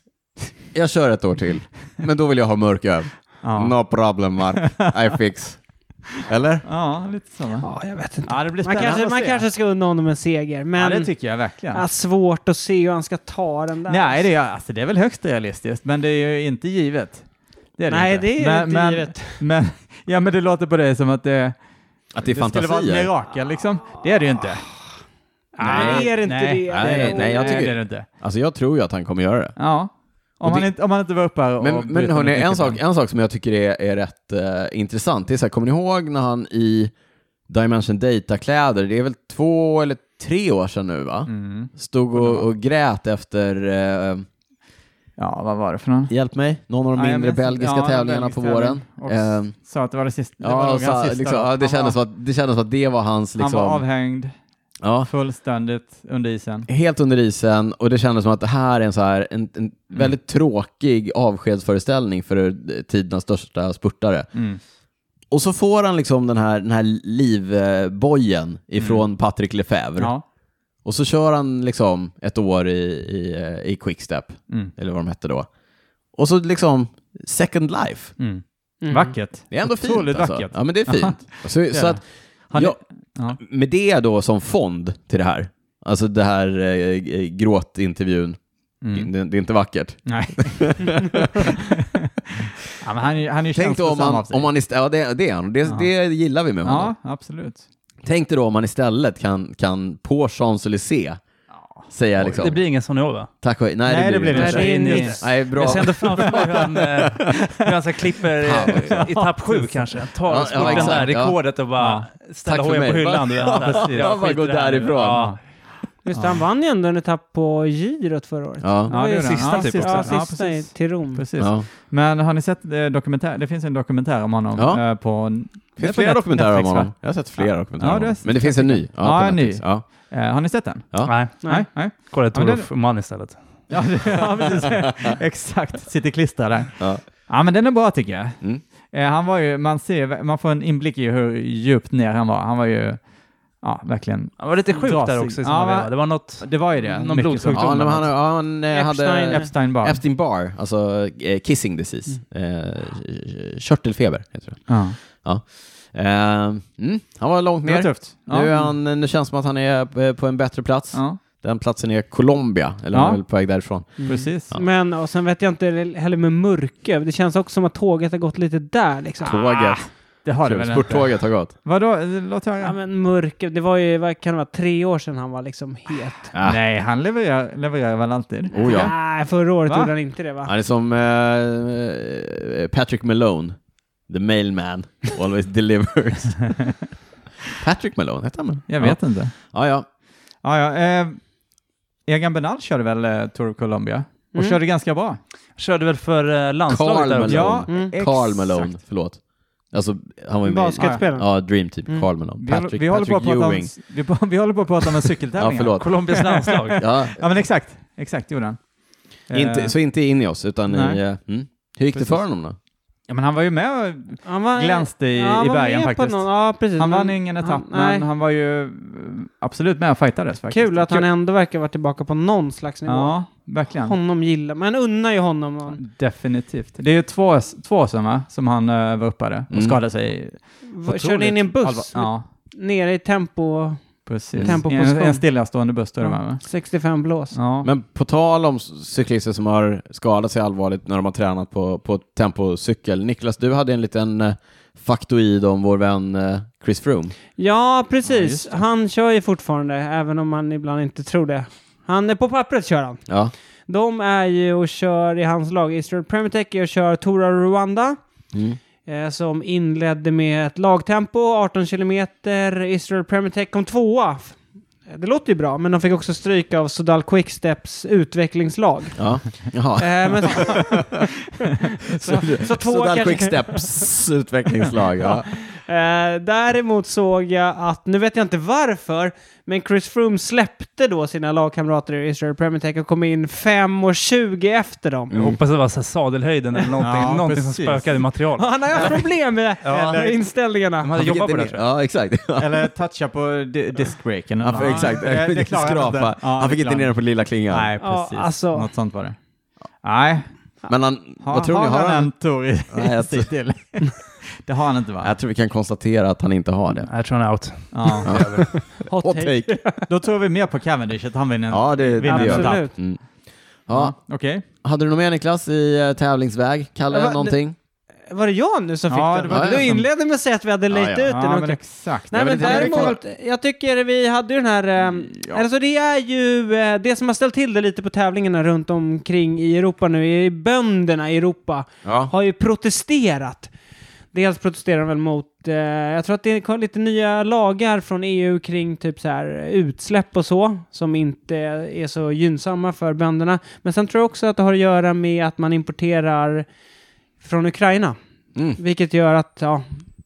jag kör ett år till, men då vill jag ha mörk öv. Ja. No problem Mark, I fix. Eller? ja, lite så. va? Ja, jag vet inte. Ja, det blir Man spännande kanske, att man se. kanske ska unna honom en seger, Ja, men det tycker jag verkligen. ah, svårt att se hur han ska ta den där. Nej, det är, alltså, det är väl högst realistiskt, men det är ju inte givet. Det är det Nej, inte. det är men, inte men, givet. Men, ja, men det låter på dig som att det, Att det är det skulle vara ett fantasier? mirakel, liksom. Det är det ju inte. Nej, det är inte det. Nej, nej, jag tycker- det är det inte. Alltså jag tror ju att han kommer göra det. Ja. Och Om, han det- inte, om han inte var uppe här och Men, men bryter hörni, mot en nyckeln. sak, en sak som jag tycker är, är rätt eh, intressant, det är så här, kommer ni ihåg när han i Dimension Data-kläder, det är väl två eller tre år sedan nu va? Mm. Stod och, och grät efter, eh, Ja, vad var det för någon? hjälp mig, någon av de Ja, jag mindre minns- belgiska ja, den tävlingarna på belgiska våren. tävlingen. Och Eh, Sa att det var det sista. det var Ja, nog så, hans här, sista liksom, då. ja, det, Han kändes var, som att, det kändes som att det var hans... Liksom, Han var avhängd ja, fullständigt under isen. helt under isen och det kändes som att det här är en, så här, en, Mm. en väldigt tråkig avskedsföreställning för eh, tidernas största spurtare. Mm. Och så får han liksom den här, den här livbojen ifrån Patrick Lefebvre. Mm. Ja. Och så kör han liksom ett år i, i, eh, i Quickstep, Mm. eller vad de hette då. Och så liksom second life. Mm. Mm. Vackert. Det är ändå fint Otroligt alltså. vackert. Ja, men det är fint. Så, så det. att, Har ni- ja, Ja. med det då som fond till det här, alltså det här eh, eh, gråtintervjun, Mm. det, det är inte vackert. Nej. ja, men han, är ju- han är ju Tänk då om känslosam av man, sig. om man istället, ja det, det är han, det, Ja. det gillar vi med honom. Ja, absolut. Tänk dig då om man istället kan, kan på Champs-Élysées säga liksom, Det blir ingen sån i år va? tack och hej. nej, Nej, det blir inte. det Nej, inte. det är Inte. nyss. Nej, bra. Jag ser ändå framför mig hur han, eh, hur han så här klipper eh, etapp sju kanske. Han Tar Ja, ja, och sporten exakt, där ja. rekordet och bara ställer Tack för hojen på mig. hyllan. du vet. Ja, precis. Ja, bara skiter gå i det här nu. därifrån. Ja. Just det, han vann ju ändå en etapp på girot förra året. Ja. Ja, var det ju gjorde han. sista Ja, typ Ja, också. sista Ja, precis. i- till Rom. Precis. Ja. Men har ni sett eh, dokumentär? Det finns en dokumentär om honom Ja. eh, på... Det finns flera dokumentärer om honom. Jag har sett flera dokumentärer Ja, om det honom. är- Men det finns en ny. Ja, på en ny. Netflix. Ja. Eh, har ni sett den? Ja. Nej, Nej. Nej. kolla ett Ja, men Olof Mann istället. Ja, det- ja precis. Exakt. Sitter klistrad där. Ja. Ja, men den är bra tycker jag. Mm. Eh, han var ju, man ser, man får en inblick i hur djupt ner han var. Han var ju, ja, verligen. Han var lite sjuk Drasig. där också i Ja, samma men- veva. Det var något... Det var ju det. Någon Mycket blodsjukdom så. Ja, eller men han, ja, han eh, Epstein. hade Epstein Barr. Mm. Epstein-Barr, alltså eh, Kissing-disease. Eh, körtelfeber heter det. ja. Eh, mm, han var långt Det var ner. tufft. Ja. Nu, är han, nu känns det som att han är eh, på en bättre plats. Ja, Den platsen är Colombia, eller Ja. han är väl på väg därifrån. Mm. precis. Ja. Men, och sen vet jag inte heller med Mörke. Det känns också som att tåget har gått lite där liksom. Ah. Tåget, Det har det väl inte. spurttåget har gått. Vadå? Låt höra. Ja men Mörke, det var ju, vad kan det vara, tre år sedan han var liksom het. Ah. Nej, han levererar, levererar väl alltid. Oh ja. Nej, förra året Va? gjorde han inte det va? Han är som eh, eh, Patrick Malone, the mailman, always delivers. Patrick Malone, hette han Jag vet inte. Ja, ja. Ja, ja. Eh, Egan Bernal körde väl eh, Tour of Colombia? Och Mm. körde ganska bra. Körde väl för eh, landslaget Carl där Malone. också? Ja, Mm. exakt. Carl Malone, förlåt. Alltså, han var ju med i... Basketspelaren. Ja, Dream Team, Mm. Carl Malone. Vi, håller- Patrick, vi, håller på att Patrick prata om, Ewing. vi, på- vi håller på att prata om en Ja, cykeltävling. här. förlåt. Colombias landslag. Ja, Ja, men exakt. Exakt gjorde han. Eh, inte, så inte in i oss, utan Nej. i... eh, Mm. Hur gick Precis. det för honom då? Ja, men han var ju med och Han var, glänste i, Ja, han i var bergen med på faktiskt. någon- ja, precis, Han vann Men ingen han- etapp, nej. men han var ju eh, absolut med och fightades faktiskt. Kul att han ändå verkar vara tillbaka på någon slags nivå. Ja, verkligen. Honom gillar man, unnar ju honom. Och, Definitivt. Det är ju två, två år sedan va, som han eh, var uppe där och Mm. skadade sig. v- körde in i en buss allvar- Ja, nere i tempo precis. Tempo på I en, skon. en stillastående buss då, va? va? 65 blås. Ja. Men på tal om cyklister som har skadat sig allvarligt när de har tränat på, på tempocykel. Niklas, du hade en liten eh, faktoid om vår vän eh, Chris Froome. Ja, Ja, precis. just det. han kör ju fortfarande, även om man ibland inte tror det. Han är på pappret kör han. Ja. De är ju och kör i hans lag. Israel Premier Tech är och kör Tora Rwanda. Mm. eh, som inledde med ett lagtempo, 18 kilometer. Israel Premier Tech kom tvåa. Det låter ju bra, men de fick också stryk av Sodal Quicksteps utvecklingslag. ja. Jaha. Eh, men så, så, så tvåa Sådär kanske- Quick Steps utvecklingslag. Ja. Eh, däremot såg jag att, nu vet jag inte varför, men Chris Froome släppte då sina lagkamrater i Israel Premier Tech och kom in 5.20 efter dem. Mm. Jag hoppas det var så här sadelhöjden eller någonting, Ja, någonting som precis. spökade i materialet. Han har haft problem med Ja. med inställningarna. De Han hade fick jobbat på inte det ner- tror jag. Ja, exakt. Eller toucha på di- discbreaken. Han fick, exakt. Det- det klarar han inte. skrapa. Ja, han fick det inte klarar ner den på lilla klingan. Nej, Ja, precis. alltså- Något sånt var det. Nej, Men han, har, vad tror ni? har Har han han? en Tor i Nej, jag sig till? Det har han inte va? Jag tror vi kan konstatera att han inte har det. Jag tror han är out. Ja. Hot Hot take. take. Då tror vi mer på Cavendish, att han vinner. Ja, det, det Vinner gör vi. tapp. Absolut. Mm. Ja, Okej. hade du något mer Niklas i eh, tävlingsväg? Kalle, Ja, men- någonting? Var det jag nu som fick Ja, det den? var du du som- inledde med att säga att vi hade lejt Ja, ja. ut den. Ja, men Okej. exakt. Nej Jag men vet inte om det är däremot, jag tycker vi hade ju den här, eh, alltså det är ju, eh, det som har ställt till det lite på tävlingarna runt omkring i Europa nu, är bönderna i Europa Ja. har ju protesterat. Dels protesterar de väl mot, eh, jag tror att det kom lite nya lagar från EU kring typ så här utsläpp och så, som inte är så gynnsamma för bönderna. Men sen tror jag också att det har att göra med att man importerar från Ukraina, Mm. vilket gör att ja,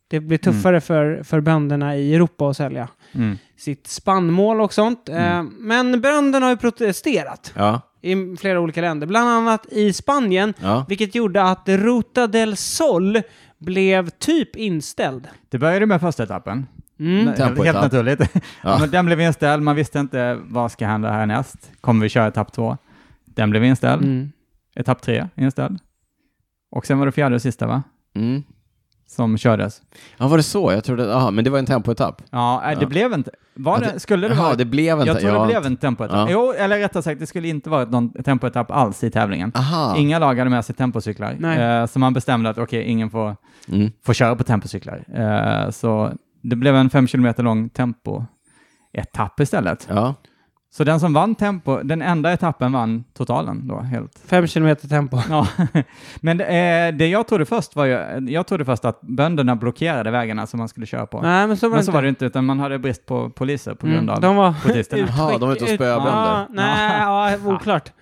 det blir tuffare för, för bönderna i Europa att sälja Mm. sitt spannmål och sånt. Eh, men bönderna har ju protesterat Ja. i flera olika länder, bland annat i Spanien. Ja. Vilket gjorde att Ruta del Sol blev typ inställd. Det började med första etappen. Mm. Nej, Tempoetapp. Helt naturligt. Ja. Men den blev inställd, man visste inte vad ska hända härnäst. Kommer vi köra etapp två? Den blev inställd. Mm. Etapp tre inställd. Och sen var det fjärde och sista va? Mm. Som kördes. ja, var det så? Jag trodde, aha, men det var en tempoetapp. Ja, äh, det Ja. blev inte... Var Ja, det, skulle det Jaha, vara... det blev en jag tror ja. det blev en tempoetapp. Ja. Jo, eller rättare sagt, det skulle inte vara någon tempoetapp alls i tävlingen. Aha. Inga lag hade med sig tempocyklar. Nej. Eh, så man bestämde att okej, ingen får, Mm. får köra på tempocyklar. Eh, så det blev en fem kilometer lång tempoetapp istället. Ja. Så den som vann tempo, den enda etappen vann totalen då helt. Fem kilometer tempo. Ja. Men det, eh, det jag trodde först var ju, jag trodde först att bönderna blockerade vägarna som man skulle köra på. Nej, men så var Men det så inte. var det inte, utan man hade brist på poliser på grund Mm, av De var protesterna. Jaha, de var ute och ut- spöade ja, bönder. Nej, ja, oklart.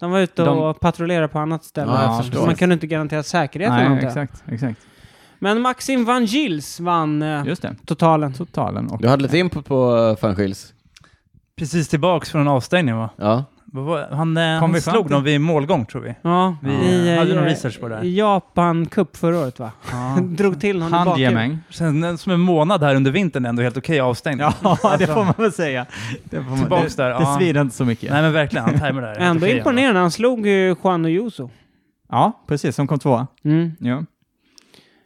De var ute och patrullerade på annat ställe. Ja, jag Så förstår. man kunde inte garantera säkerheten. eller Nej, någonting. exakt, exakt. Men Maxim van Gils vann eh, Just det, totalen. totalen. Och, Du hade lite input på eh, Fanskils? Precis tillbaks från avstängningen va? Ja. Vad var- Han, eh, Kom vi han fram slog till- dem vid målgång tror vi. Ja, Vi i, eh, hade någon i- research på det här. i Japan Cup förra året va? Drog till honom i bakhuvudet. Handgemäng. Sen, eh, som en månad här under vintern ändå helt okej avstängning. Ja, det Alltså. får man väl säga. Det, får man, Tillbaks det, där, det ja. svider inte så mycket. Nej men verkligen, han tajmade det här. helt Ändå okej, imponerande. Han slog ju Juan Ojuso. Ja, precis, som kom tvåa. Mm. Ja.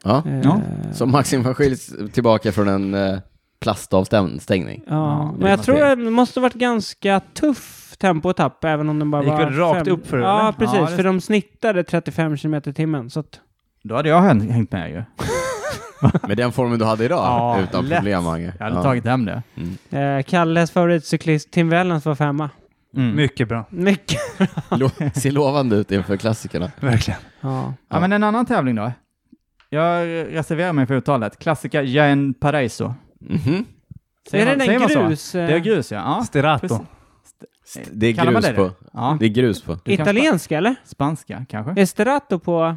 ja. Ja. Eh, Så Maxim Fanskils tillbaka från en eh, plastavstängning. Ja, Ja, det men kan jag tror man det måste varit ganska tuff tempoetapp även om den bara Det gick var... väl rakt upp för det, Ja, eller? precis. Ja, det- För de snittade 35 km i timmen. Så att... Då hade jag häng- hängt med ju. Med den formen du hade idag, Ja, utan lätt. problem Mange. Jag hade Ja. tagit hem det. eh, Kalles favoritcyklist Tim Wellens var femma. Mm. ja. Mycket bra, Mycket. Lo- ser lovande ut inför klassikerna. verkligen. Ja. Ja, men en annan tävling då. Jag reserverar mig för uttalet. Klassiska Jaén Paraiso. Eh, Mhm. Säger är det man- säger den man så? grus? eh, Det är grus, ja. ja. Stirato. precis. Det är Kallar man grus det på. det? ja. Det är grus på. Du kan Italienska eller? Spanska, kanske? Esterato på...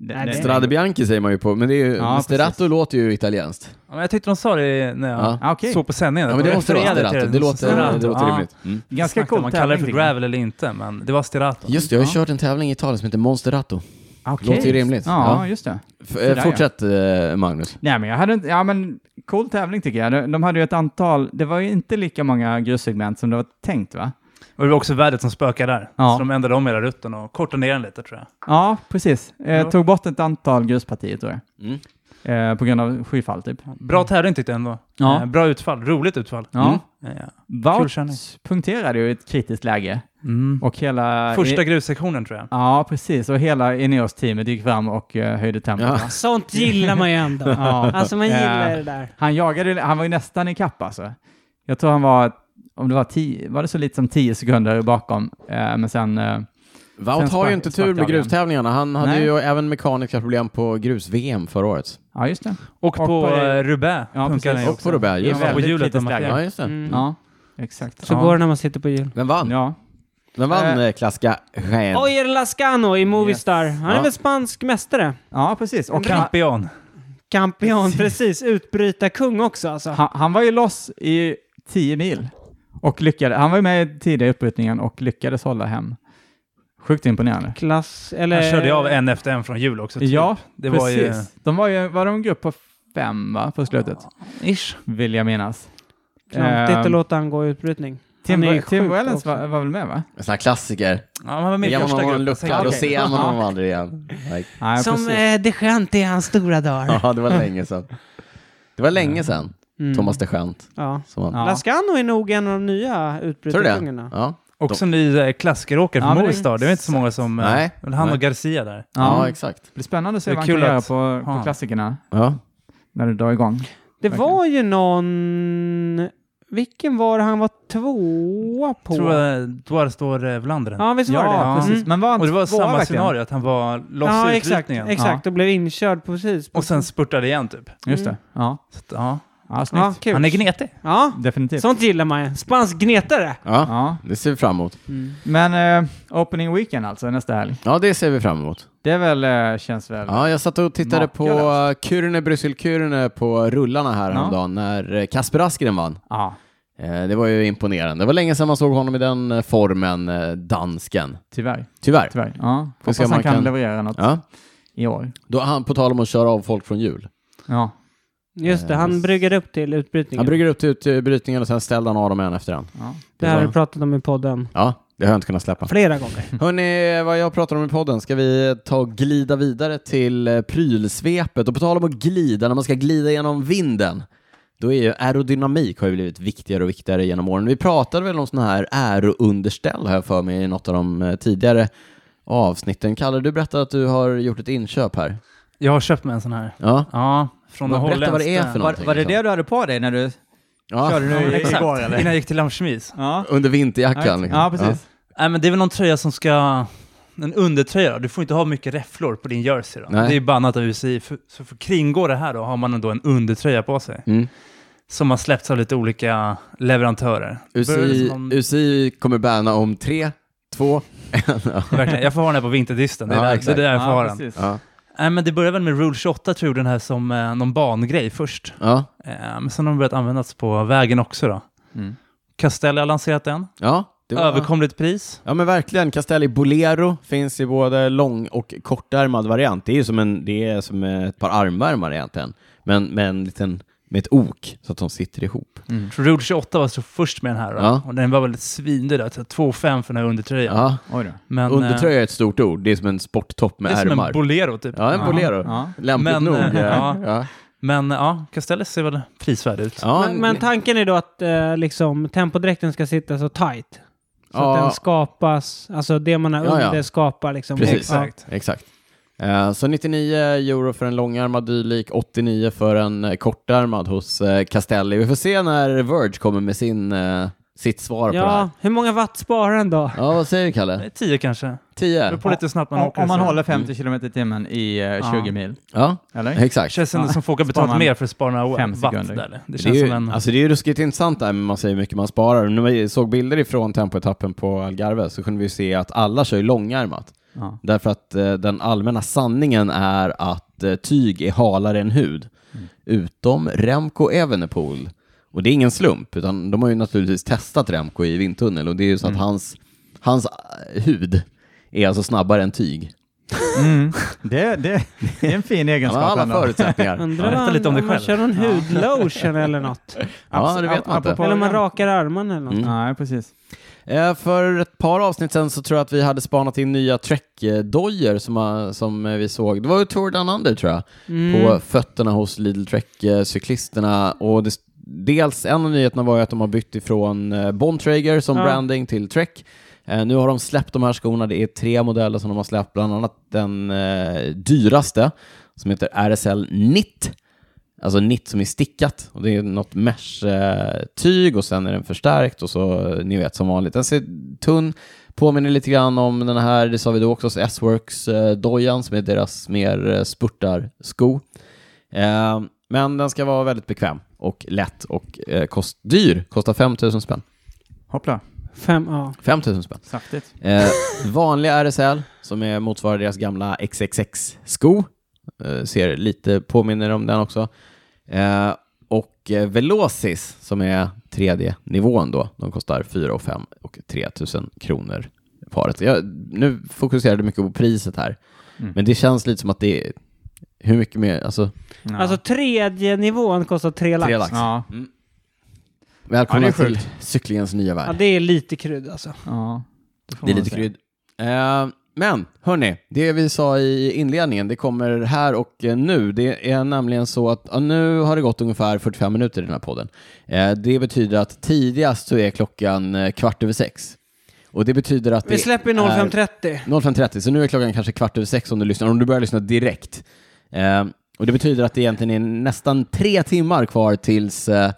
Det- Nej, det- det- Strade Bianchi säger man ju på, men det är ju, Ja, Sterato precis. låter ju italienskt. Ja, men jag tyckte de sa det när jag Ja. Ja, okej. såg på sändningen. Ja, men det De måste vara refererade Sterato. till Det låter, Stirato. det låter Ja. rimligt. Mm. Ganska Snacka om cool man kallar det för tävling, gravel eller inte, men det var Stirato. Just det, jag har Ja. kört en tävling i Italien som heter Monsterato. tycker jag. Okej. Låter ju rimligt. Ja, Ja. just det. F- eh, ja. fortsätt eh, Magnus. Nej, men jag hade inte... Ja, men cool tävling tycker jag. De- De hade ju ett antal... Det var ju inte lika många grussegment som det var tänkt, va? Och det var också vädret som spökade där. Ja. Så de ändrade om hela rutten och kortade ner den lite tror jag. Ja, precis. Eh, Ja. Tog bort ett antal gruspartier, tror jag. Mm. eh, på grund av skyfall typ. Bra tävling tyckte jag ändå. Ja. Eh, Bra utfall, roligt utfall. Ja. Mm. Eh, Kul Wout körning. punkterade ju i ett kritiskt läge Mm. och hela... Första i- grussektionen tror jag. Ja, precis. Och hela Ineos-teamet gick fram och eh, höjde tempot. Ja. va? Sånt gillar man ju ändå. Ja. Alltså man gillar Eh, det där. Han jagade, han var ju nästan i kapp alltså. Jag tror han var, om det var tio, var det så lite som tio sekunder bakom, eh, men sen... Eh, Wout har spark- ju inte tur med sparkade han. grustävlingarna. Han hade Nej. ju även mekaniska problem på grus-VM förra året. ja, just det. Och på, på, eh, eh, Roubaix ja, punkade han precis. ju Och också. på Roubaix, I just var det. väldigt hjulet kritiskt de läge. Ja, just det. Mm. Ja, exakt. Så ja. går det när man sitter på jul. Vem vann? Ja, Vem vann Eh. eh, klassiska Jaén? Oyer Lascano i Movistar. Han är Ja. väl spansk mästare? ja precis. Och han, Campion. Kampion, precis. Utbryta kung också alltså. han, han var ju loss i tio mil och lyckades. Han var ju med tidigare i uppbrytningen och lyckades hålla hem. Sjukt imponerande. Klass, eller... eh, Han körde ju av en efter en från hjul också. typ. Ja, det precis. var ju... De var ju, var de en grupp på fem va, på slutet? Ish. Vill jag minnas. Klantigt att Ehm, låta han gå i utbrytning. Tim, Han är ju Tim sjuk Wellens också. var, var väl med va? En sån här klassiker. Ja, han var med i Ger man första honom en gruppen. lucka, då Okej. ser man Ja. honom aldrig igen. Like. Nej, Som precis. eh, de Chante i hans stora dagar. Ja, det var länge sedan. Det var länge sedan, Mm. Thomas de Gent. Ja. Som han. Ja. Lascano är nog en av de nya Tror du det? utbrytarkungarna. Ja. Också ny eh, klassikeråkare Ja, från men det- Movistar. Det är inte så många som... eh, Nej. väl Han Nej. och Garcia där. Ja. ja, exakt. det blir spännande att se Det är vad han kul kan göra att- på, på Ja. klassikerna Ja. när det drar igång. Det Verkligen. var ju någon... Vilken var det han var tvåa på? tror jag Dwar står eh, Vlanderen. Ja, visst var det det? ja. precis. Mm. Men var han Och det var tvåa samma verkligen? scenario, att han var loss Ja, i exakt. utbrytningen. Exakt, och blev inkörd precis. Och sen spurtade igen typ. Just det. Mm. Ja, Så att, ja. ja snyggt. Ja, kul. Han är gnetig. Ja, Definitivt. sånt gillar man ju. Spansk gnetare. ja, Ja. det ser vi fram emot. Men eh, opening weekend alltså, nästa helg. Ja, det ser vi fram emot. Det är väl, eh, känns väl... Ja, jag satt och tittade på eh, Makalöst. Kyrne, Bryssel-Kyrne på rullarna här Ja. häromdagen när eh, Kasper Askren vann. Ja, Eh, Det var ju imponerande. Det var länge sedan man såg honom i den eh, formen, eh, dansken. tyvärr. Tyvärr. Tyvärr. Ja. Hoppas se om han han kan, kan- leverera något Ja. i år. Då han, på tal om att köra av folk från hjul. Ja. Just det, Eh, han brygger upp till utbrytningen. Han brygger upp till ut- brytningen och sen ställde han av dem en efter en. ja. det här har vi pratat om i podden Ja, det har jag inte kunnat släppa. flera gånger. Hörni, vad jag pratar om i podden, ska vi ta och glida vidare till eh, prylsvepet? Och på tal om att glida, när man ska glida genom vinden, då är ju aerodynamik har ju blivit viktigare och viktigare genom åren. Vi pratade väl om sådana här aerounderställ här för mig i något av de eh, tidigare avsnitten. Kalle, du berättade att du har gjort ett inköp här. Jag har köpt mig en sån här. Ja, Ja, från Vad- den berätta vad det är holländska- för något. Var- var det det du hade på dig när du ja. Ja, nu exakt. Innan jag gick till Lamchemis. Ja, under vinterjackan. liksom. ja precis. Nej, men det är väl någon tröja som ska... En undertröja. Du får inte ha mycket räfflor på din jersey. Då. Det Nej. är ju bannat av UCI. För, så för att kringgå det här då har man ändå en undertröja på sig. Ja. Mm. Som har släppts av lite olika leverantörer. Började UCI, som om- UCI kommer banna om tre, två, en. Ja. Verkligen. Jag får ha den här på vinterdysten. Det är Ja, där, det är exakt. där jag får ha Ja, den. precis. Ja. Nej, men det började väl med Rule 28 tror jag, den här som eh, någon bangrej först. Ja. Eh, men sen har de börjat användas på vägen också då. Mm. Castelli har lanserat den. ja. det var- Överkomligt pris. Ja men verkligen, Castelli Bolero finns i både lång och kortärmad variant. Det är ju som, en, det är som ett par armvärmare egentligen, men med, en liten, med ett ok så att de sitter ihop. Jag tror Rule 28 var så först med den här då. Ja. Och den var väl svindyr där, så 2,5 för den här undertröjan. Ja. Oj då. Men, eh, Undertröja är ett stort ord, det är som en sporttopp det med är som en ärmar. Bolero typ. ja, en Ja. Bolero. Ja. Lämpligt Men, nog. eh, Ja. ja. Ja. Men eh, ja, Castelli ser väl prisvärd ut. Ja, Men, men tanken är då att eh, liksom, tempodräkten ska sitta så tight. Så Ja. att den skapas, alltså det man har Ja, ja. under skapar liksom. Precis. Exakt. Exakt. Eh, Så 99 euro för en långärmad dylik, 89 för en eh, kortärmad hos eh, Castelli. Vi får se när Verge kommer med sin, eh, sitt svar på det här. Ja, hur många watt sparar den då? Ja, vad säger du Det Kalle? är 10 kanske. 10? Det beror på lite hur snabbt man Om, åker. om man så. Mm. håller 50 kilometer km i timmen i eh, 20 Ja. mil, Ja, eller? exakt. Känns ändå Ja. som folk har Sparar betalat man mer för att spara några fem watt sekunder. där. eller? Det Det är, känns ju, som en... alltså det är ju ruskigt intressant där, men man säger hur mycket man sparar. När vi såg bilder ifrån tempoetappen på Algarve så kunde vi ju se att alla kör ju långärmat. Ja. Därför att eh, den allmänna sanningen är att eh, tyg är halare än hud. Mm. Utom Remco Evenepoel. Och det är ingen slump, utan de har ju naturligtvis testat Remco i vindtunnel och det är ju så Mm. att hans, hans eh, hud är alltså snabbare än tyg. Mm. Det, det, det är en fin Han har egenskap alla ändå. förutsättningar. Undrar Berätta vad- lite om dig man själv. kör någon hudlotion eller något. ja, det vet man inte. Apropå- Eller om man rakar armarna eller något. Mm. Nej, precis. Eh, För ett par avsnitt sen så tror jag att vi hade spanat in nya Trek-dojor som, eh, som eh, vi såg. Det var ju Tour Down Under tror jag, på fötterna hos Lidl Trek-cyklisterna. Och det, dels en av nyheterna var ju att de har bytt ifrån eh, Bontrager som Ja. branding till Trek. Eh, Nu har de släppt de här skorna, det är tre modeller som de har släppt, bland annat den eh, dyraste som heter RSL Knit. Alltså nitt som är stickat. Och det är något mesh-tyg och sen är den förstärkt och så, eh, ni vet som vanligt. Den ser tunn, påminner lite grann om den här, det sa vi då också, S-Works-dojan som är deras mer eh, spurtarsko. Eh, men den ska vara väldigt bekväm och lätt och eh, kost, dyr. Kostar 5 000 spänn. Hoppla, Fem, ja. 5 000 spänn. saftigt. Eh, vanliga RSL, som är motsvarar deras gamla XXX-sko. Eh, ser lite, påminner om den också. Eh, och eh, Velocis, som är tredje nivån då, de kostar 4 och 5 och 3 000 kronor paret. Jag, nu fokuserade jag mycket på priset här, Mm. men det känns lite som att det är hur mycket mer, alltså Ja. Alltså tredje nivån kostar tre lax. tre lax. ja. Välkomna Ja, det är till sjukt. cyklingens nya värld. Ja, det är lite krydd alltså. ja. får Det är man lite säga. krydd. Eh, men hörni, det vi sa i inledningen, det kommer här och eh, nu. Det är nämligen så att ja, nu har det gått ungefär 45 minuter i den här podden. Eh, det betyder att tidigast så är klockan eh, kvart över sex. Och det betyder att Vi det släpper är- 05.30. 05.30, så nu är klockan kanske kvart över sex om du lyssnar, om du börjar lyssna direkt. Eh, och det betyder att det egentligen är nästan tre timmar kvar tills eh,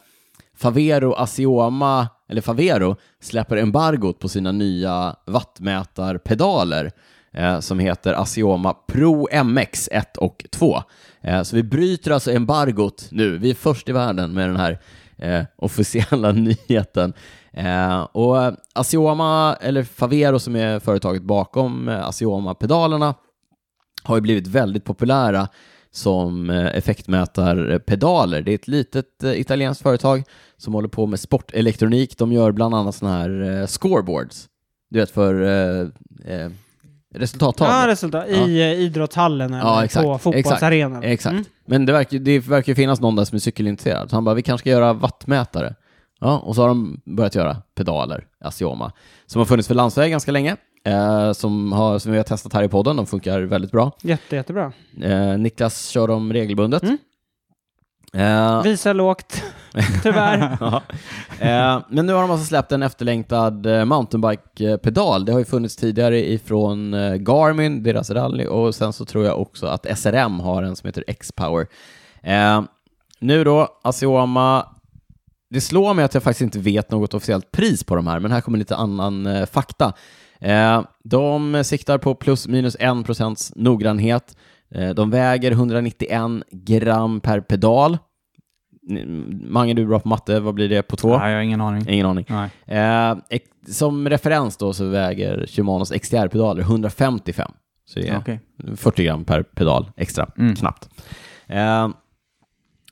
Favero Asioma, eller Favero, släpper embargot på sina nya vattmätarpedaler eh, som heter Asioma Pro MX 1 och 2. Eh, så vi bryter alltså embargot nu. Vi är först i världen med den här eh, officiella nyheten. Eh, och eh, Asioma, eller Favero som är företaget bakom eh, Asioma-pedalerna, har ju blivit väldigt populära som eh, effektmätarpedaler. Det är ett litet eh, italienskt företag som håller på med sportelektronik. De gör bland annat sådana här eh, scoreboards, du vet för eh, eh, resultattal. Ja, resultat. I eh, idrottshallen eller Ja, exakt. på fotbollsarenan. Exakt. Mm. Men det verkar, det verkar ju finnas någon där som är cykelintresserad. Så han bara, vi kanske ska göra vattmätare. Ja, och så har de börjat göra pedaler, Asioma, som har funnits för landsväg ganska länge. Eh, som, har, som vi har testat här i podden, de funkar väldigt bra. Jätte, jättebra. Eh, Niklas kör dem regelbundet. Mm. Eh, Visa lågt, tyvärr. Ja. Eh, men nu har de alltså släppt en efterlängtad eh, mountainbike-pedal. Det har ju funnits tidigare ifrån eh, Garmin, deras rally, och sen så tror jag också att SRM har en som heter X-Power. Eh, nu då, Asioma. Det slår mig att jag faktiskt inte vet något officiellt pris på de här, men här kommer lite annan eh, fakta. Eh, de siktar på plus minus 1 procents noggrannhet. Eh, de väger 191 gram per pedal. N- Mange, du är bra på matte. Vad blir det på två? Nej, jag har ingen aning. Ingen aning. Nej. Eh, ex- som referens då så väger Shimanos XTR-pedaler 155. Så det är Okej. 40 gram per pedal extra, Mm. knappt. Eh,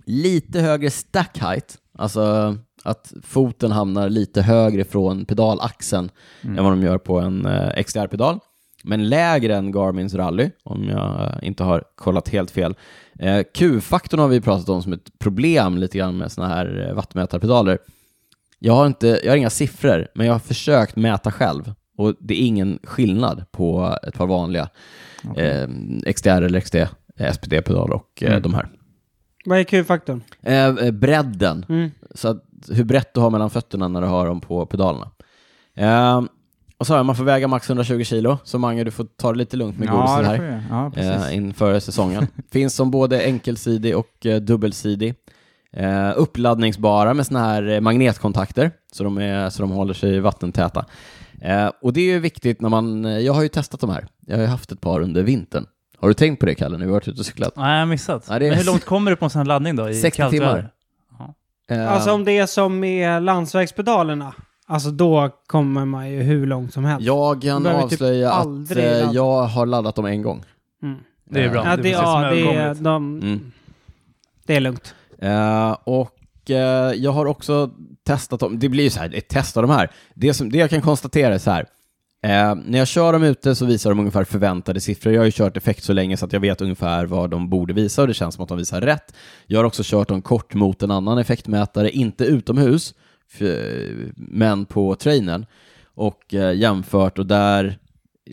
lite högre stack height, alltså att foten hamnar lite högre från pedalaxeln Mm. än vad de gör på en eh, XDR-pedal. Men lägre än Garmins rally, om jag eh, inte har kollat helt fel. Eh, Q-faktorn har vi pratat om som ett problem lite grann med sådana här eh, vattmätarpedaler. Jag har, inte, jag har inga siffror, men jag har försökt mäta själv och det är ingen skillnad på ett par vanliga Mm. eh, XDR eller XD, eh, SPD-pedal och eh, Mm. de här. Vad är Q-faktorn? Eh, eh, bredden, Mm. så att, hur brett du har mellan fötterna när du har dem på pedalerna. Eh, och så har jag, man får väga max 120 kilo, så Mange du får ta det lite lugnt med ja, godisen det här får jag. Ja, precis. eh, inför säsongen. Finns som både enkelsidig och eh, dubbelsidig. Eh, uppladdningsbara med såna här eh, magnetkontakter, så de, är, så de håller sig vattentäta. Eh, och det är ju viktigt när man, eh, jag har ju testat de här, jag har ju haft ett par under vintern. Har du tänkt på det Kalle, när vi har varit ute och cyklat? Nej, jag har missat. Ja, det är- Men hur långt kommer du på en sån här laddning då? I 60 kallt timmar. väder? Eh, Alltså om det är som med landsvägspedalerna, alltså då kommer man ju hur långt som helst. Eh, jag kan behöver typ avslöja att aldrig eh, ladda. jag har laddat dem en gång. Mm. Det är bra. Ja, det, precis som ja, det, är, överkomligt. de, Mm. det är lugnt. Eh, och eh, jag har också testat dem. Det blir ju så här, ett test av de här. Det, som, det jag kan konstatera är så här. Eh, när jag kör dem ute så visar de ungefär förväntade siffror. Jag har ju kört effekt så länge så att jag vet ungefär vad de borde visa och det känns som att de visar rätt. Jag har också kört dem kort mot en annan effektmätare, inte utomhus, f- men på trainern. och eh, jämfört och där,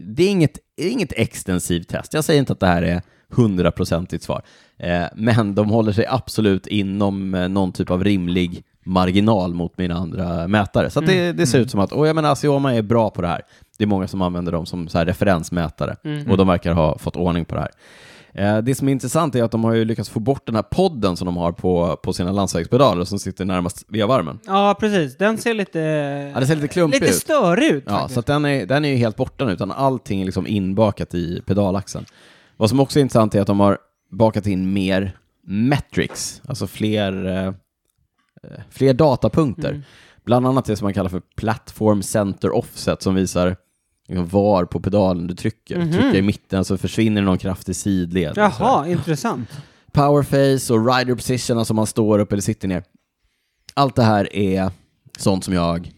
det är inget, inget extensivt test. Jag säger inte att det här är hundraprocentigt svar, eh, men de håller sig absolut inom eh, någon typ av rimlig marginal mot mina andra mätare. Så att det, det ser ut som att, och jag menar, Asioma är bra på det här. Det är många som använder dem som så här referensmätare Mm. och de verkar ha fått ordning på det här. Eh, Det som är intressant är att de har ju lyckats få bort den här podden som de har på, på sina landsvägspedaler som sitter närmast vevarmen. Ja, precis. Den ser lite... Ja, det ser lite klumpig lite ut. störig ut. Ja, så att den, är, den är ju helt borta nu, utan allting är liksom inbakat i pedalaxeln. Vad som också är intressant är att de har bakat in mer metrics, alltså fler, eh, eh, fler datapunkter. Mm. Bland annat det som man kallar för platform center offset som visar liksom var på pedalen du trycker. Mhm. Trycker i mitten så försvinner någon kraft i sidled. och sådär Jaha, intressant. powerface och rider position, alltså man står upp eller sitter ner. Allt det här är sånt som jag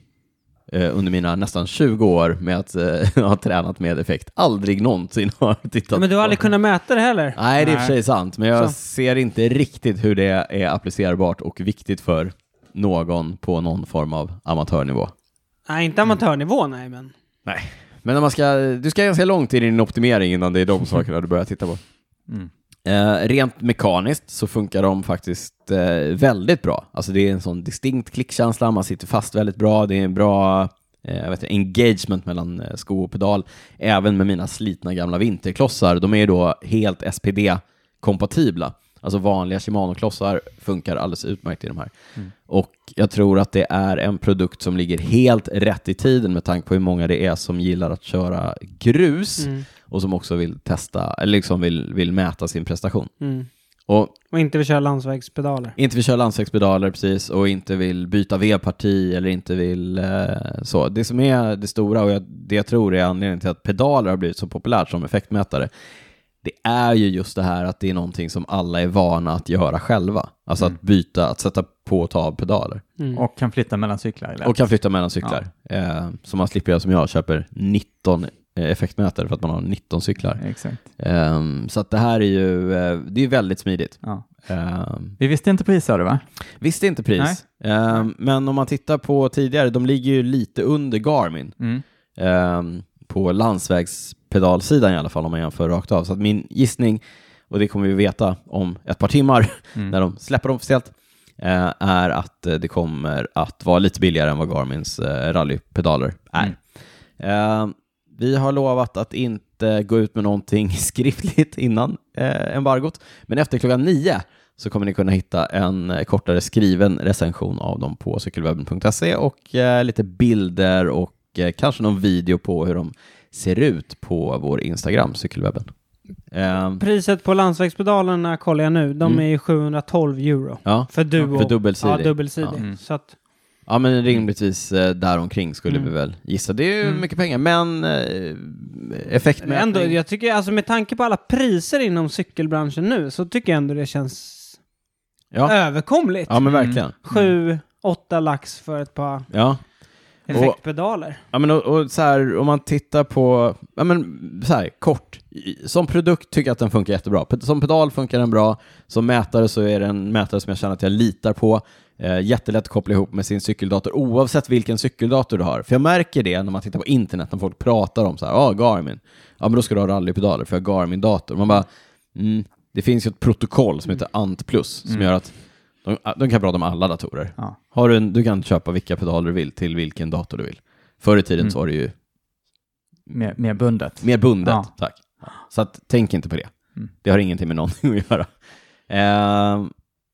eh, under mina nästan 20 år med att eh, ha tränat med effekt aldrig någonsin har tittat Men du har på. aldrig kunnat mäta det heller? Nej, det är i och för sig sant, men jag Så. ser inte riktigt hur det är applicerbart och viktigt för någon på någon form av amatörnivå. Nej, inte amatörnivå, nej men. Nej. Men när man ska, du ska ganska långt in i din optimering innan det är de sakerna du börjar titta på. Mm. Eh, rent mekaniskt så funkar de faktiskt eh, väldigt bra. Alltså det är en sån distinkt klickkänsla, man sitter fast väldigt bra, det är en bra eh, jag vet, inte, engagement mellan eh, sko och pedal. Även med mina slitna gamla vinterklossar, de är ju då helt SPD-kompatibla. Alltså vanliga Shimano-klossar funkar alldeles utmärkt i de här. Och jag tror att det är en produkt som ligger helt rätt i tiden med tanke på hur många det är som gillar att köra grus Mm. och som också vill testa, eller liksom vill, vill mäta sin prestation. Mm. Och Och inte vill köra landsvägspedaler. inte vill köra landsvägspedaler precis och inte vill byta V-parti eller inte vill eh, så. Det som är det stora och jag, det jag tror är anledningen till att pedaler har blivit så populärt som effektmätare, det är ju just det här att det är någonting som alla är vana att göra själva. Alltså att byta, att sätta på och ta av pedaler. Mm. Och kan flytta mellan cyklar. Eller? Och kan flytta mellan cyklar. Eh, så man slipper göra som jag, köper 19 eh, effektmätare för att man har 19 cyklar. Exakt. Ehm, så att det här är ju eh, det är väldigt smidigt. Ja. Ehm, Vi visste inte pris sa du va? visst, det är inte pris. Ehm, men om man tittar på tidigare, de ligger ju lite under Garmin. Mm. Ehm, på landsvägspedalsidan i alla fall om man jämför rakt av. Så att min gissning, och det kommer vi veta om ett par timmar Mm. när de släpper dem officiellt, eh, är att eh, det kommer att vara lite billigare än vad Garmins eh, rallypedaler är. Mm. Eh, vi har lovat att inte gå ut med någonting skriftligt innan eh, embargot, men efter klockan nio så kommer ni kunna hitta en eh, kortare skriven recension av dem på cykelwebben.se och eh, lite bilder och eh, kanske någon video på hur de ser ut på vår Instagram, cykelwebben. Eh, Priset på landsvägspedalerna kollar jag nu. De Mm. är ju 712 euro. ja. För duo. För dubbelsidig. Ja, dubbelsidig. Ja. Mm. Så att, Ja, men rimligtvis eh, däromkring skulle Mm. vi väl gissa. Det är ju Mm. mycket pengar, men eh, men ändå, effektmätning... jag tycker alltså med tanke på alla priser inom cykelbranschen nu så tycker jag ändå det känns Ja. överkomligt. ja, men Mm. verkligen. Sju, åtta lax för ett par Ja. effektpedaler. Ja, men och, och så här, om man tittar på, ja, men så här, kort, I- som produkt tycker jag att den funkar jättebra. Pe- Som pedal funkar den bra, som mätare så är det en mätare som jag känner att jag litar på. Eh, jättelätt att koppla ihop med sin cykeldator, oavsett vilken cykeldator du har. För jag märker det när man tittar på internet, när folk pratar om så här, ja, ah, Garmin, ja, men då ska du ha rallypedaler, för jag har Garmin-dator. Man bara, mm, det finns ju ett protokoll som heter ANT+, som gör att de, de kan prata om alla datorer. Ja. Har du, en, du kan köpa vilka pedaler du vill till vilken dator du vill. Förr i tiden Mm. så var det ju Mer, mer bundet. mer bundet. Ja. Tack. Så att, tänk inte på det. Mm. Det har ingenting med någonting att göra. Eh,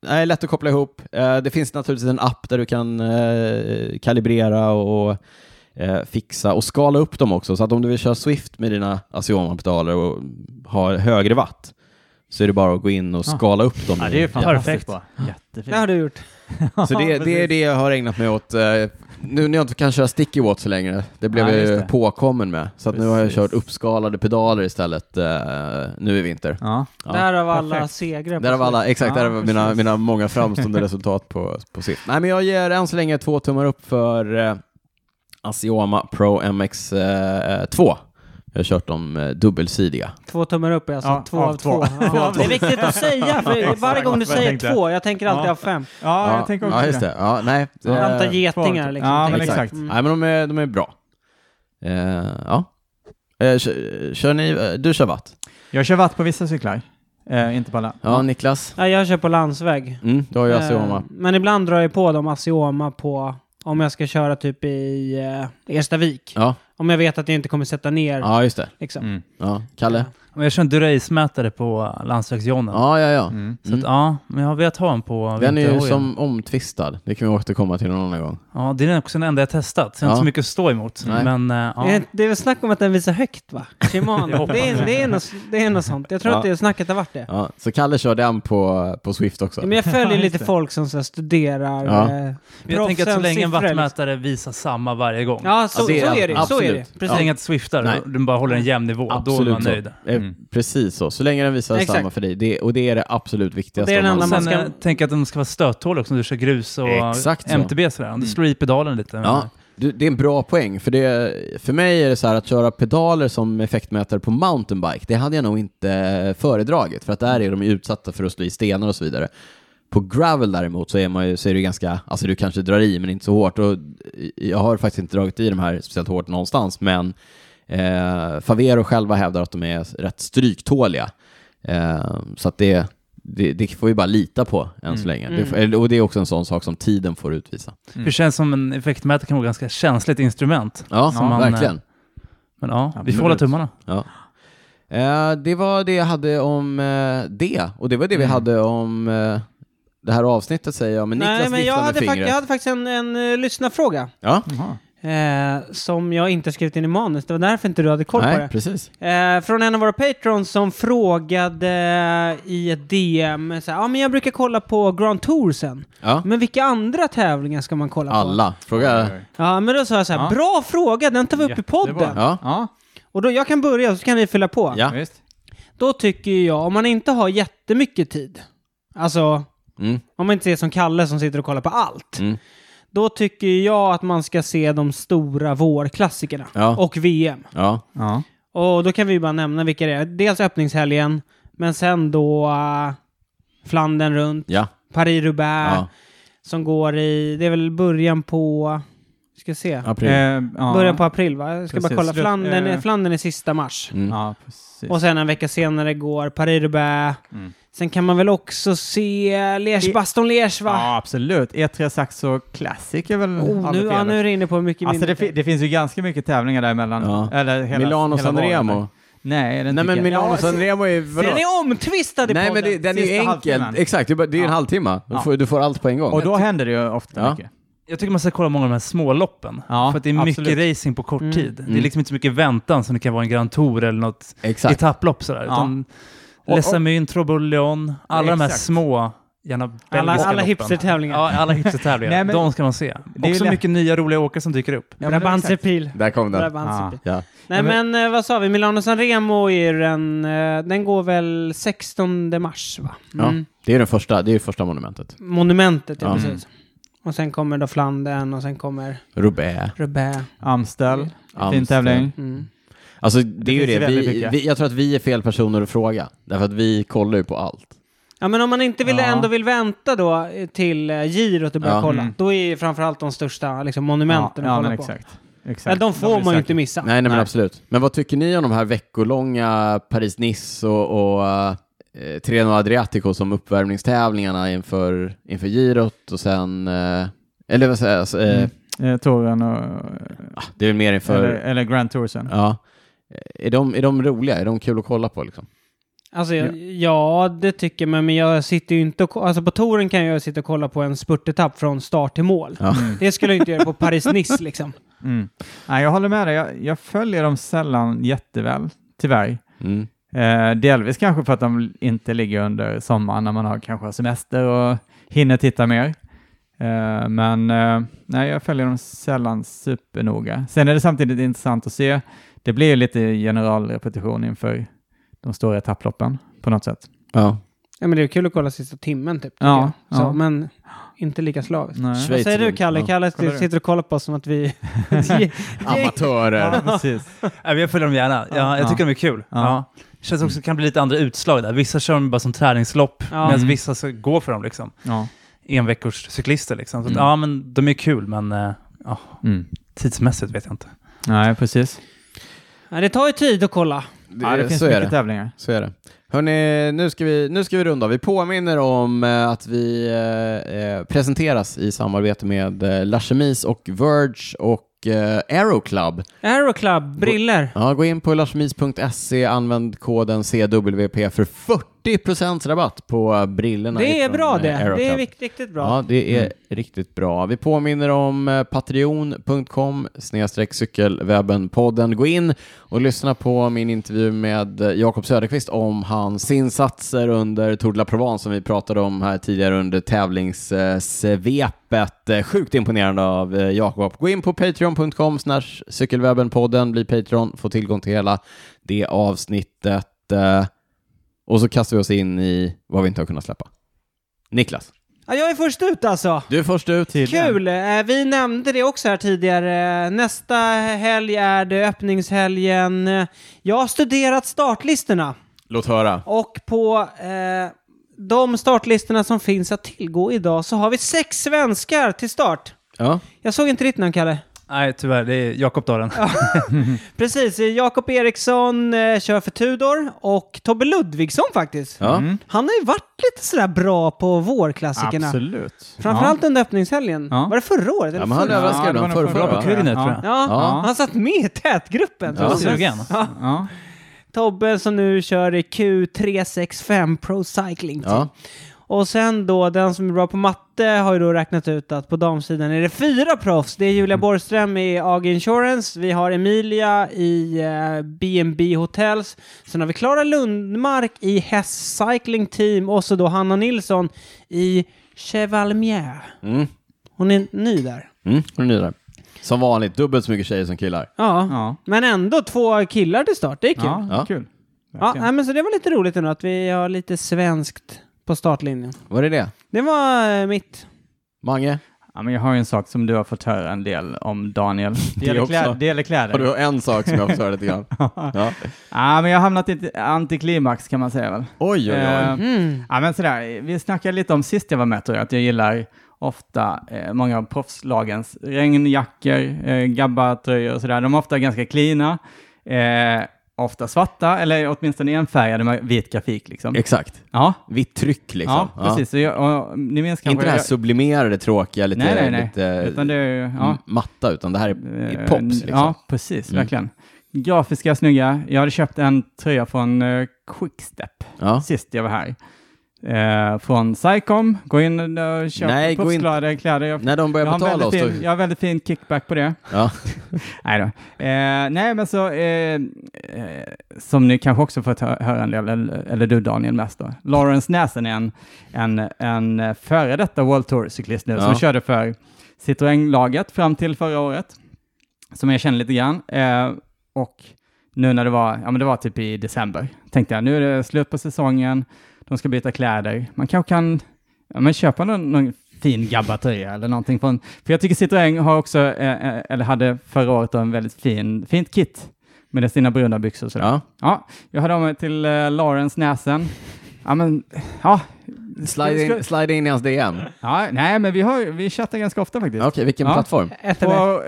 nej, lätt att koppla ihop. Eh, det finns naturligtvis en app där du kan eh, kalibrera och eh, fixa och skala upp dem också. Så att om du vill köra Swift med dina Asioma-pedaler och ha högre watt så är det bara att gå in och Ja. skala upp dem. Ja, det är ju fantastiskt Perfekt. bra. Jättefint. Det har du gjort. Så det, det är det jag har ägnat mig åt. eh, Nu när jag inte kan köra sticky watts längre, det blev Nej, jag just ju det. påkommen med. Så att nu har jag Precis. kört uppskalade pedaler istället eh, nu i vinter. Ja. Ja. Därav alla perfekt. segrar. på Där var alla, exakt, Ja, där var mina, precis. mina många framstående resultat på, på sitt. Nej, men jag ger än så länge två tummar upp för eh, Asioma Pro MX2. jag har kört de eh, dubbelsidiga. Två tummar upp är alltså Ja, två av två. Ja, Två av Det är viktigt att säga, för varje gång du Exakt vad jag säger tänkte. två, jag tänker alltid Ja. av fem. ja, jag tänker också ja, just det. Ja, nej, Jag antar Eh, getingar liksom. Ja, men tänker jag. exakt. Mm. Nej, men de är, de är bra. Eh, ja. Eh, kör, kör ni, eh, du kör watt? Jag kör watt på vissa cyklar, eh, inte på alla. Ja, Niklas? Ja, jag kör på landsväg. Mm, du har ju Asioma. Eh, Men ibland drar jag på dem Asioma på om jag ska köra typ i eh, Erstavik. Ja, Om jag vet att jag inte kommer sätta ner. ja just det. Liksom. Eh, Mm. Ja, Kalle? Men jag kör en durace-mätare på landsvägsjonnen. Ja, ja, ja. Mm. Så att, ja, men jag vet ha en på Den är ju vinterhojen. som omtvistad. Det kan vi återkomma till någon annan gång. Ja, det är också den enda jag testat. Så jag har Ja. inte så mycket att stå emot. Nej. Men eh, Eh, ja. Det är väl snack om att den visar högt va? Jag Shimano. hoppas det, är, det, är något, det är något sånt. Jag tror Ja. att det snacket har varit det. Ja, så Kalle kör den på, på Swift också. Men jag följer lite det. folk som så här, studerar Ja. eh, Men jag tänker att så proffsens länge en siffror, liksom. vattmätare visar samma varje gång. Ja, så, Ja, det är- så är det. Så är det. absolut. Så Precis. länge att swiftar, Nej. den bara håller en jämn nivå, då är man så. nöjd. Eh, Mm. Precis så. Så länge den visar Exakt. samma för dig. Det, och det är det absolut viktigaste. Det är den om man- enda Sen man ska- eh, tänker jag att den ska vara stöttålig också, om du kör grus och Exakt så. Mm. MTB sådär. Om du slår i pedalen lite. Mm. Ja, du, det är en bra poäng. För, det, för mig är det så här att köra pedaler som effektmätare på mountainbike, det hade jag nog inte föredragit. För att där är de ju utsatta för att slå i stenar och så vidare. På gravel däremot så är man ju, så är det ju ganska, alltså du kanske drar i men inte så hårt. Och jag har faktiskt inte dragit i de här speciellt hårt någonstans, men eh, Favero själva hävdar att de är rätt stryktåliga. Eh, så att det, det, det får vi bara lita på än så länge. Det, får- och det är också en sån sak som tiden får utvisa. För det känns som en effektmätare kan vara ett ganska känsligt instrument. Ja, Som man, eh, verkligen. Men ja, vi Absolut. får hålla tummarna. Ja. Eh, det var det jag hade om eh, det, och det var det vi hade om eh, det här avsnittet säger jag, men Niklas Nej, men viftar jag med hade, fak- fingret. jag hade faktiskt en, en eh, lyssnarfråga. Ja, Jaha. Eh, som jag inte skrivit in i manus. Det var därför inte du hade koll på nej, det. precis. Eh, från en av våra patrons som frågade i ett DM, så här, ja men jag brukar kolla på Grand Tour sen. Ja. Men vilka andra tävlingar ska man kolla på? Alla. Fråga. Ja, men då sa jag så här, Ja. bra fråga, den tar vi upp i podden. Ja. Ja, Och då, jag kan börja så kan ni fylla på. Ja. visst. Då tycker ju jag, om man inte har jättemycket tid, alltså Mm. om man inte är som Kalle som sitter och kollar på allt, Mm. då tycker jag att man ska se de stora vårklassikerna Ja. och VM. Ja. Ja. Och då kan vi ju bara nämna vilka det är. Dels öppningshelgen, men sen då uh, Flandern runt, Ja. Paris-Roubaix, Ja. som går i, det är väl början på, ska se, April. Eh, ja. början på april va? Jag ska Precis. bara kolla, Slut- Flandern, eh. Flandern är sista mars. Mm. Ja, precis. Och sen en vecka senare går Paris-Roubaix. Mm. Sen kan man väl också se Liège, I- Baston Liège va? Ja, absolut. E3 Saxo Classic är väl oh, nu, aldrig ja, fel. nu är du inne på mycket Alltså det, mindre. fi- det finns ju ganska mycket tävlingar däremellan. Ja. Eller hela, Milano hela San valen. Remo. Nej, Nej det tycker men jag. Milano Ja, San Remo är Den vadå? är omtvistad i Nej men podden! det, den är ju Sista enkel. halvtimmen. Exakt, det är bara- det är ju en Ja. halvtimme. Du Ja. får, du får allt på en gång. Och då händer det ju ofta Ja. mycket. Jag tycker man ska kolla många av de här småloppen. Ja, för att det är mycket absolut. racing på kort Mm. tid. Det Mm. är liksom inte så mycket väntan som det kan vara en Grand Tour eller något Exakt. etapplopp sådär. Utan Och- Les Amis, Troboleon, alla de här Exakt. små, gärna belgiska alla alla loppen. hipstertävlingar. Ja, alla Nej, hipstertävlingar. men- De ska man se. Det är Också lätt- mycket nya roliga åkare som dyker upp. Ja, men Brabants exakt. pil. Där kom den. Brabants Ja. pil. Ja. Nej men, eh, vad sa vi, Milano Sanremo är ju den, eh, den går väl 16 mars va? Ja. Mm. Det är det första, det är det första monumentet. Monumentet, ja, Ja. precis. Och sen kommer då Flandern och sen kommer Roubaix. Roubaix. Amstel, fin Amstel. tävling. Mm. Alltså det, är ju finns ju det, väldigt vi, mycket. vi, jag tror att vi är fel personer att fråga. Därför att vi kollar ju på allt. Ja men om man inte vill, Ja. ändå vill vänta då eh, till eh, girot och börja Ja. kolla, Mm. då är ju framförallt de största liksom, monumenten ja, att men kolla på. exakt. exakt. Ja, de får blir man ju säkert- inte missa. Nej, nej men absolut. Men vad tycker ni om de här veckolånga Paris-Nice och, och eh, Treno Adriatico som uppvärmningstävlingarna inför, inför girot och sen... Eh, eller vad säger jag? Alltså, eh, Mm. Eh, touren och... Det är väl mer inför... Eller, eller Grand Tour sen. Ja. Eh, Är de, är de roliga? Är de kul att kolla på liksom? Alltså, ja. ja, det tycker man, men jag sitter ju inte och ko- Alltså på touren kan jag sitta och kolla på en spurtetapp från start till mål. Ja. Det skulle jag inte göra på Paris-Nice liksom. Mm. Nej, jag håller med dig. Jag, jag följer dem sällan jätteväl, tyvärr. Mm. Eh, delvis kanske för att de inte ligger under sommaren när man har kanske har semester och hinner titta mer. Eh, men eh, nej, jag följer dem sällan supernoga. Sen är det samtidigt intressant att se. Det blir ju lite generalrepetition inför de stora etapploppen på något sätt. Ja. Ja, men det är kul att kolla sista timmen typ. tycker Ja, jag. Så, ja. Men inte lika slaviskt. Nej. Schweiz Vad säger du runt, Kalle? ja. Kalle Kollar du? sitter och kollar på oss som att vi... Ge- Amatörer. Ja, precis. Nej, men Äh, Jag följer dem gärna. Ja, jag Ja. tycker de är kul. Ja. Ja. Känns också att det kan bli lite andra utslag där. Vissa kör dem bara som träningslopp, Ja. medan Mm. vissa så går för dem liksom. Ja. Enveckors cyklister liksom. Så att, Mm. ja, men de är kul, men eh, Mm. tidsmässigt vet jag inte. Nej, precis. Ja, det tar ju tid att kolla. Det, Ja, det finns så är mycket det. tävlingar. Så är det. Hörrni, nu ska vi, nu ska vi runda av. Vi påminner om eh, att vi eh, eh, presenteras i samarbete med eh, La Chemise och Verge och eh, Aero Club. Aeroclub, briller. Ja, gå in på lachemise.se, använd koden CWP för 40% rabatt på eh, brillorna. Det är ifrån, bra eh, det. Aero Det är Club. vikt- riktigt bra. Ja, det är riktigt bra. Vi påminner om eh, patreon.com snedstreck cykelwebbenpodden. Gå in och lyssna på min intervju med eh, Jakob Söderqvist om hans insatser under Tour de la Provence som vi pratade om här tidigare under tävlingssvepet. Eh, Sjukt imponerande av eh, Jakob. Gå in på patreon.com snedstreck cykelwebbenpodden, bli Patreon, få tillgång till hela det avsnittet. eh, Och så kastar vi oss in i vad vi inte har kunnat släppa. Niklas. Ja, jag är först ut alltså. Du är först ut. Kul! Eh, Vi nämnde det också här tidigare. Eh, Nästa helg är det öppningshelgen. Eh, Jag har studerat startlistorna Låt höra. och på eh, de startlistorna som finns att tillgå idag så har vi sex svenskar till start. Ja. Jag såg inte ditt namn, Kalle. Nej, tyvärr. Det är Jakob Dalen. Precis, eh, Jakob Eriksson eh, kör för Tudor och Tobbe Ludvigsson faktiskt. Ja. Mm. Han har ju varit lite sådär bra på vårklassikerna. Absolut. Framförallt under öppningshelgen. Ja. Var det förra året? Eller men han förra? överraskade det var ibland nog förrförra, förra va? året. Kul nu, tror Ja, jag. Ja. han satt med i tätgruppen. Ja. Sugen. Ja. Ja. Tobbe som nu kör i Q365 Pro Cycling. Team. Ja. Och sen då, den som är bra på matte har ju då räknat ut att på damsidan är det fyra proffs. Det är Julia Borgström i AG Insurance, vi har Emilia i eh, B&B Hotels, sen har vi Klara Lundmark i Hess Cycling Team och så då Hanna Nilsson i Chevalmier. Mm. Hon är ny där. Mm. Hon är ny där. Som vanligt, dubbelt så mycket tjejer som killar. Ja. Ja. Men ändå två killar till start, det är kul. Ja, Ja, Ja. kul. nej, men så det var lite roligt ändå att vi har lite svenskt på startlinjen. Var det det? Det var eh, mitt. Mange? Ja, men jag har ju en sak som du har fått höra en del om, Daniel. Det gäller, också. klä, det gäller kläder. Har du en sak som jag får höra lite grann? Ja. Ja, men jag har hamnat i ett antiklimax kan man säga väl. Oj, oj, Eh, oj. ja, men sådär, vi snackade lite om sist jag var med tror jag, att jag gillar ofta eh, många av proffslagens regnjackor, eh, gabbatröjor och sådär. De är ofta ganska cleana, eh, ofta svarta eller åtminstone enfärgade med vit grafik liksom. Exakt. Ja, Vitt tryck liksom. ja, precis. Så jag, och, ni minns kanske... Inte det här jag- sublimerade, tråkiga, lite, Nej, nej, nej. lite eh, Utan det är ju, ja. m- matta, utan det här är i Eh, pops liksom. Ja, precis, Mm. verkligen. Grafiska, snygga. Jag hade köpt en tröja från eh, Quickstep Ja. sist jag var här. Eh, från Sycom. Gå in och köp Nej, gå in- proffskläder. Kläder. Jag, När de jag, börjar har en betala oss väldigt då... fin, jag har väldigt fin kickback på det. Ja. Nej då. Eh, nej, men så, eh, eh, som ni kanske också fått hö- höra en del, eller, eller du Daniel mest då. Lawrence Näsen är en, en, en före detta World Tour-cyklist nu Ja. som körde för Citroën-laget fram till förra året, som jag känner lite grann. Eh, och nu när det var, ja men det var typ i december, tänkte jag nu är det slut på säsongen, de ska byta kläder, man kanske kan ja, men köpa någon, någon fin gabbatröja eller någonting från, för jag tycker Citroën har också, eh, eh, eller hade förra året då en väldigt fin, fint kit med sina bruna byxor och sådär. ja. Ja, jag hörde av mig till eh, Lawrence Näsen. Ja, men, ja. Slide, in, slide in i hans DM. Okej, ja nej, men vi, har, vi chattar ganska ofta faktiskt. vilken Ja. plattform? Ett eller? På,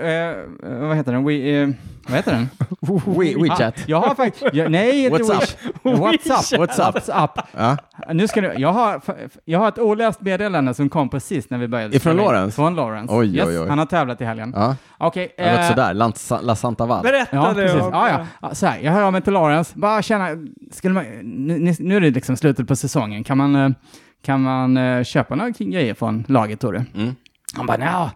eh, vad heter den? We, eh, vad heter den? We, WeChat. Ja, jag har faktiskt, jag, nej, inte What's WeChat. WhatsApp. WhatsApp. WhatsApp. Ja. Nu ska du, jag, har, jag har ett oläst meddelande som kom precis när vi började. Ifrån spela in. Lawrence? Från Lawrence. Oj, yes, oj, oj. Han har tävlat i helgen. Ja. Okej. Det har eh, gått sådär. Lan- La Santa Val. Berätta Ja, nu precis. om Ja, det. ja. ja. Så här, jag hör av mig till Lawrence. Bara känna, skulle man, nu, ni- nu är det liksom slutet på säsongen. Kan man, eh, kan man eh, köpa några grejer från laget, tror du? Mm. Han bara, nja.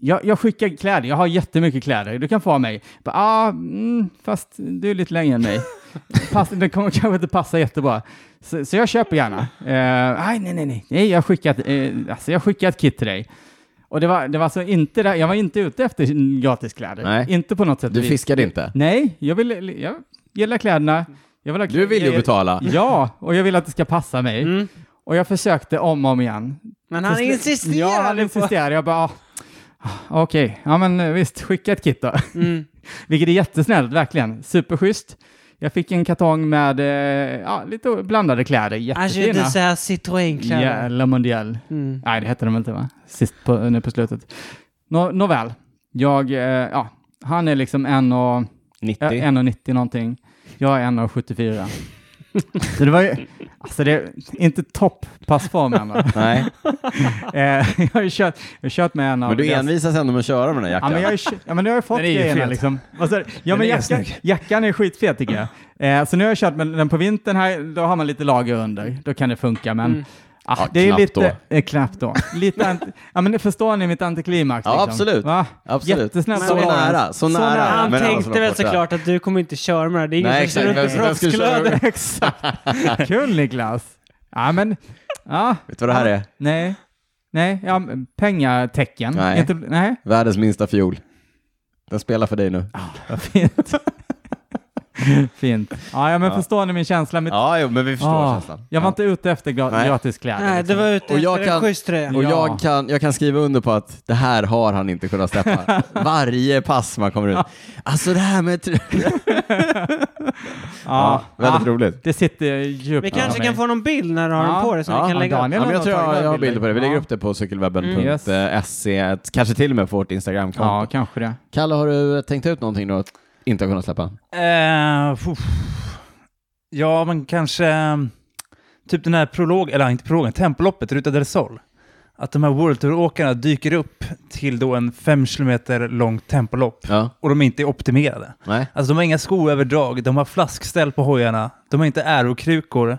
Jag, jag skickar kläder, jag har jättemycket kläder, du kan få av mig. Jag Bara, ah, mm, fast du är lite längre än mig. Pass, det kommer kanske inte passa jättebra. Så, så jag köper gärna. Eh, aj, nej, nej, nej, nej jag, skickar ett, eh, alltså, jag skickar ett kit till dig. Och det var, det var alltså inte där, jag var inte ute efter gratiskläder. Nej. Inte på något sätt. Du vis. fiskade inte? Nej, jag vill, jag gillar kläderna. Jag vill ha, Du vill ju betala. Mm. Ja, och jag vill att det ska passa mig. Och jag försökte om och om igen. Men han Till slut- insisterade Ja, han på... insisterade. Jag bara, ah, okej, ja men eh, visst, skicka ett kit då. Mm. Vilket är jättesnällt, verkligen. Superschysst. Jag fick en kartong med eh, ja, lite blandade kläder, Han körde jättefina. såhär Citroën-kläder. Jävla mondial. Mm. Nej, det hette de inte va? Sist på, nu på slutet. Nå, nåväl, jag, eh, ja, Han är liksom en och, 90. ja, 1,90 någonting. Jag är 1,74. Så det var ju, alltså det är inte topppassform än. va? Nej, Eh, jag har ju kört, jag har kört med en av men du deras- envisas ändå med att köra med den här Ja jackan. men, jag har ju kö- ja men nu har jag fått Den är ju grejerna fet. liksom. Vad sa du? ja, Den men är jackan, snygg. jackan är skitfet tycker jag. Eh, så nu har jag kört med den på vintern här, då har man lite lager under, då kan det funka men Mm. ah, Ja, det är knappt lite, eh, knappt då. Lite anti- ja men det förstår ni mitt antiklimax Ja, liksom. absolut. Va? Absolut. Så Jättesnällt av Lawrence. nära, så Så nära. nära. Han men ändå så tänkte långt väl borta. såklart att du kommer inte köra med det här. Det är ingen Nej, som kör exakt. Vem- runt med vem skulle köra proffsglöder. Exakt. Kul Niklas. Ja men, ja, Vet du vad det här är? nej. Nej, ja, men pengatecken. Nej. Inte, nej. Världens minsta fiol. Den spelar för dig nu. Vad fint. fint. Ja, ja men Ja. förstår ni min känsla? Mitt Ja, jo, men vi förstår Ah, känslan. Jag var Ja. inte ute efter gra- Nej. gratis kläder. Nej, det liksom. var ute Och jag efter en kan- schysst tröja. Och jag Ja. kan, jag kan skriva under på att det här har han inte kunnat släppa. Varje pass man kommer ut. Alltså det här med... tr- Ja, ja. väldigt ja, roligt. Det sitter djupt Vi i kanske mig. kan få någon bild när du har Ja. den på dig som Ja, vi kan lägga upp. Daniel. Ja, men jag har tror tagit jag, jag har bilder. bilder på det. Vi Ja. lägger upp det på Mm, yes. cykelwebben.se, ett- kanske till och med på vårt Instagramkonto. Ja, kanske det. Kalle, har du tänkt ut någonting då? att Inte har kunnat släppa? Eh, fuff. ja, men kanske eh, typ den här prologen, eller inte prologen, tempoloppet, Ruta del Sol. Att de här World Tour-åkarna dyker upp till då en fem kilometer långt tempolopp Ja. och de inte är optimerade. Nej. Alltså de har inga skoöverdrag, de har flaskställ på hojarna, de har inte aerokrukor.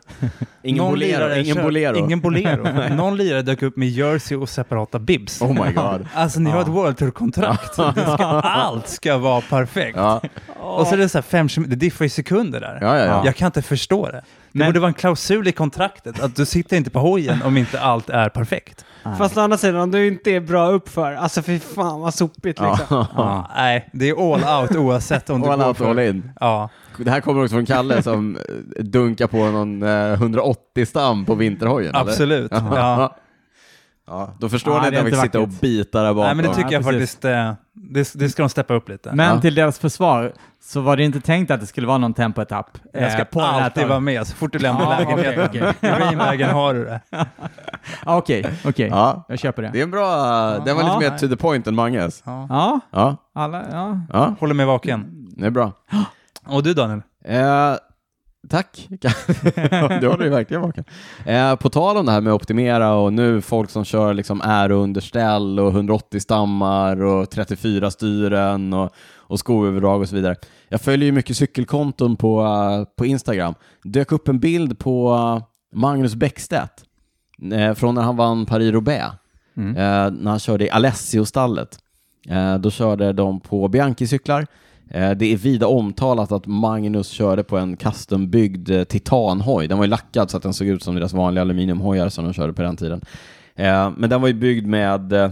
Ingen Någon bolero. lirare Ingen kör- bolero. Ingen bolero. Någon lirare dök upp med jersey och separata bibs. Oh my god. Ah. Alltså ni har Ja. ett World Tour-kontrakt. Det ska- Allt ska vara perfekt. Ja, Och så är det så här fem kilo- det diffar ju sekunder där. ja, ja. ja. Jag kan inte förstå det. Det Men- borde vara en klausul i kontraktet att du sitter inte på hojen om inte allt är perfekt. Fast å andra sidan, om du inte är bra uppför, alltså fy fan vad sopigt liksom. Ja. Nej, det är all out oavsett om du All går out, för... all in. Ja, Det här kommer också från Kalle som eh, dunkar på någon 180-stam på vinterhojen. eller? absolut. Ja. Ja. ja. Då förstår Ja, ni det att är jag inte fick sitta och vackert. bita där bakom. Nej, men det Ja, tycker jag precis. faktiskt, eh, det, det ska de steppa upp lite. Men Ja. till deras försvar så var det inte tänkt att det skulle vara någon tempoetapp. jag ska eh, på den här alltid tavlan. vara med så fort du lämnar Ja, lägenheten. okej, okej. I Greenbagen har du det. Ah, Okej, okej. Ja, Jag köper det det. är en bra... Den var Ja. lite mer to the point än Manges. Ja, Ja, alla, ja. ja, Håller mig vaken. det är bra. Och du Daniel? Eh, tack. du håller ju verkligen vaken. Eh, på tal om det här med optimera och nu folk som kör liksom ärounderställ och 180 stammar och 34 styren och, och skoöverdrag och så vidare. Jag följer ju mycket cykelkonton på, eh, på Instagram. Dök upp en bild på eh, Magnus Bäckstedt eh, från när han vann Paris-Roubaix. Mm. Eh, när han körde i Alessio-stallet. Eh, då körde de på Bianchi-cyklar. Eh, det är vida omtalat att Magnus körde på en custombyggd eh, titanhoj. Den var ju lackad så att den såg ut som deras vanliga aluminiumhojar som de körde på den tiden. Eh, men den var ju byggd med eh,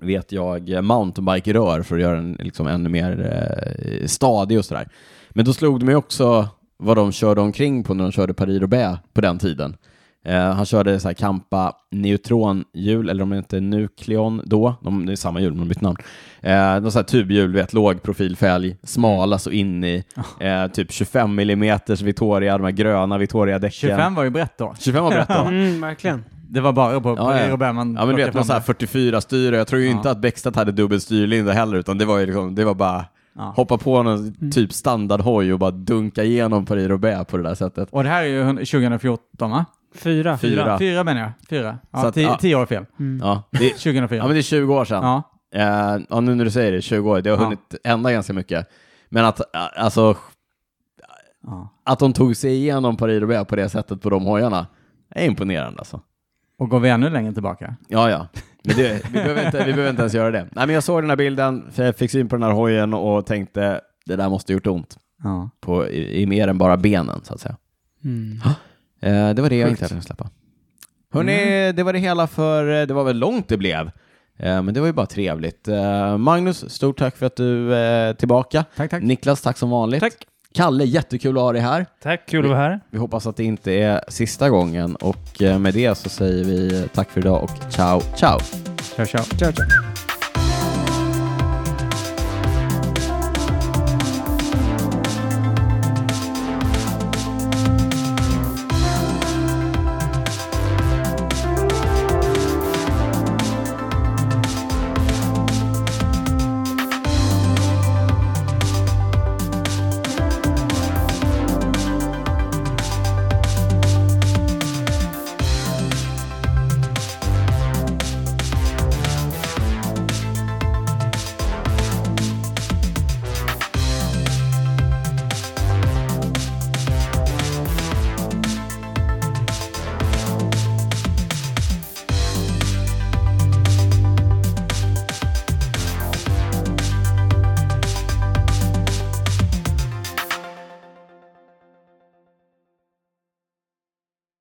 vet jag, eh, mountainbike-rör för att göra den liksom ännu mer eh, stadig och sådär. Men då slog det mig också vad de körde omkring på när de körde Paris-Roubaix på den tiden. Eh, han körde så här Kampa neutronhjul, eller om det inte är Nucleon då, de, det är samma hjul men de har bytt namn. Eh, de så här tubhjul, du vet, låg profilfälg, smala så in i, eh, typ 25 mm Vittoria, de här gröna Vittoria-däcken. 25 var ju brett då. 25 var brett då. Mm, verkligen. Det var bara på Ja, på ja. Rio Bergman. Ja men du vet, någon så här 44 styre. Jag tror ju Ja. inte att Bäckstedt hade dubbel styrlinda heller, utan det var ju liksom, det var bara Ja. hoppa på någon typ standardhoj och bara dunka igenom Paris Roubaix på det där sättet. Och det här är ju 2014 va? Fyra. Fyra. Fyra menar jag. Fyra. Ja, Så att- tio, ja. tio år fel. Ja, det, 2004. ja men det är 20 år sedan. Ja. ja. ja, nu när du säger det, 20 år, det har Ja. hunnit ändra ganska mycket. Men att, eh, alltså, ja. att de tog sig igenom Paris Roubaix på det sättet på de hojarna, är imponerande alltså. Och går vi ännu längre tillbaka? Ja, ja. Men det, vi, behöver inte, vi behöver inte ens göra det. Nej, men jag såg den här bilden, för jag fick syn på den här hojen och tänkte, det där måste gjort ont. Ja. på, i, i mer än bara benen, så att säga. Mm. Eh, det var det jag inte hade kunnat släppa. Hörrni, det var det hela för, eh, det var väl långt det blev. Eh, men det var ju bara trevligt. Eh, Magnus, stort tack för att du eh, är tillbaka. Tack, tack. Niklas, tack som vanligt. Tack. Kalle, jättekul att ha dig här. Tack, kul att vara här. Vi hoppas att det inte är sista gången och eh, med det så säger vi tack för idag och ciao, ciao. Ciao, ciao. Ciao, ciao.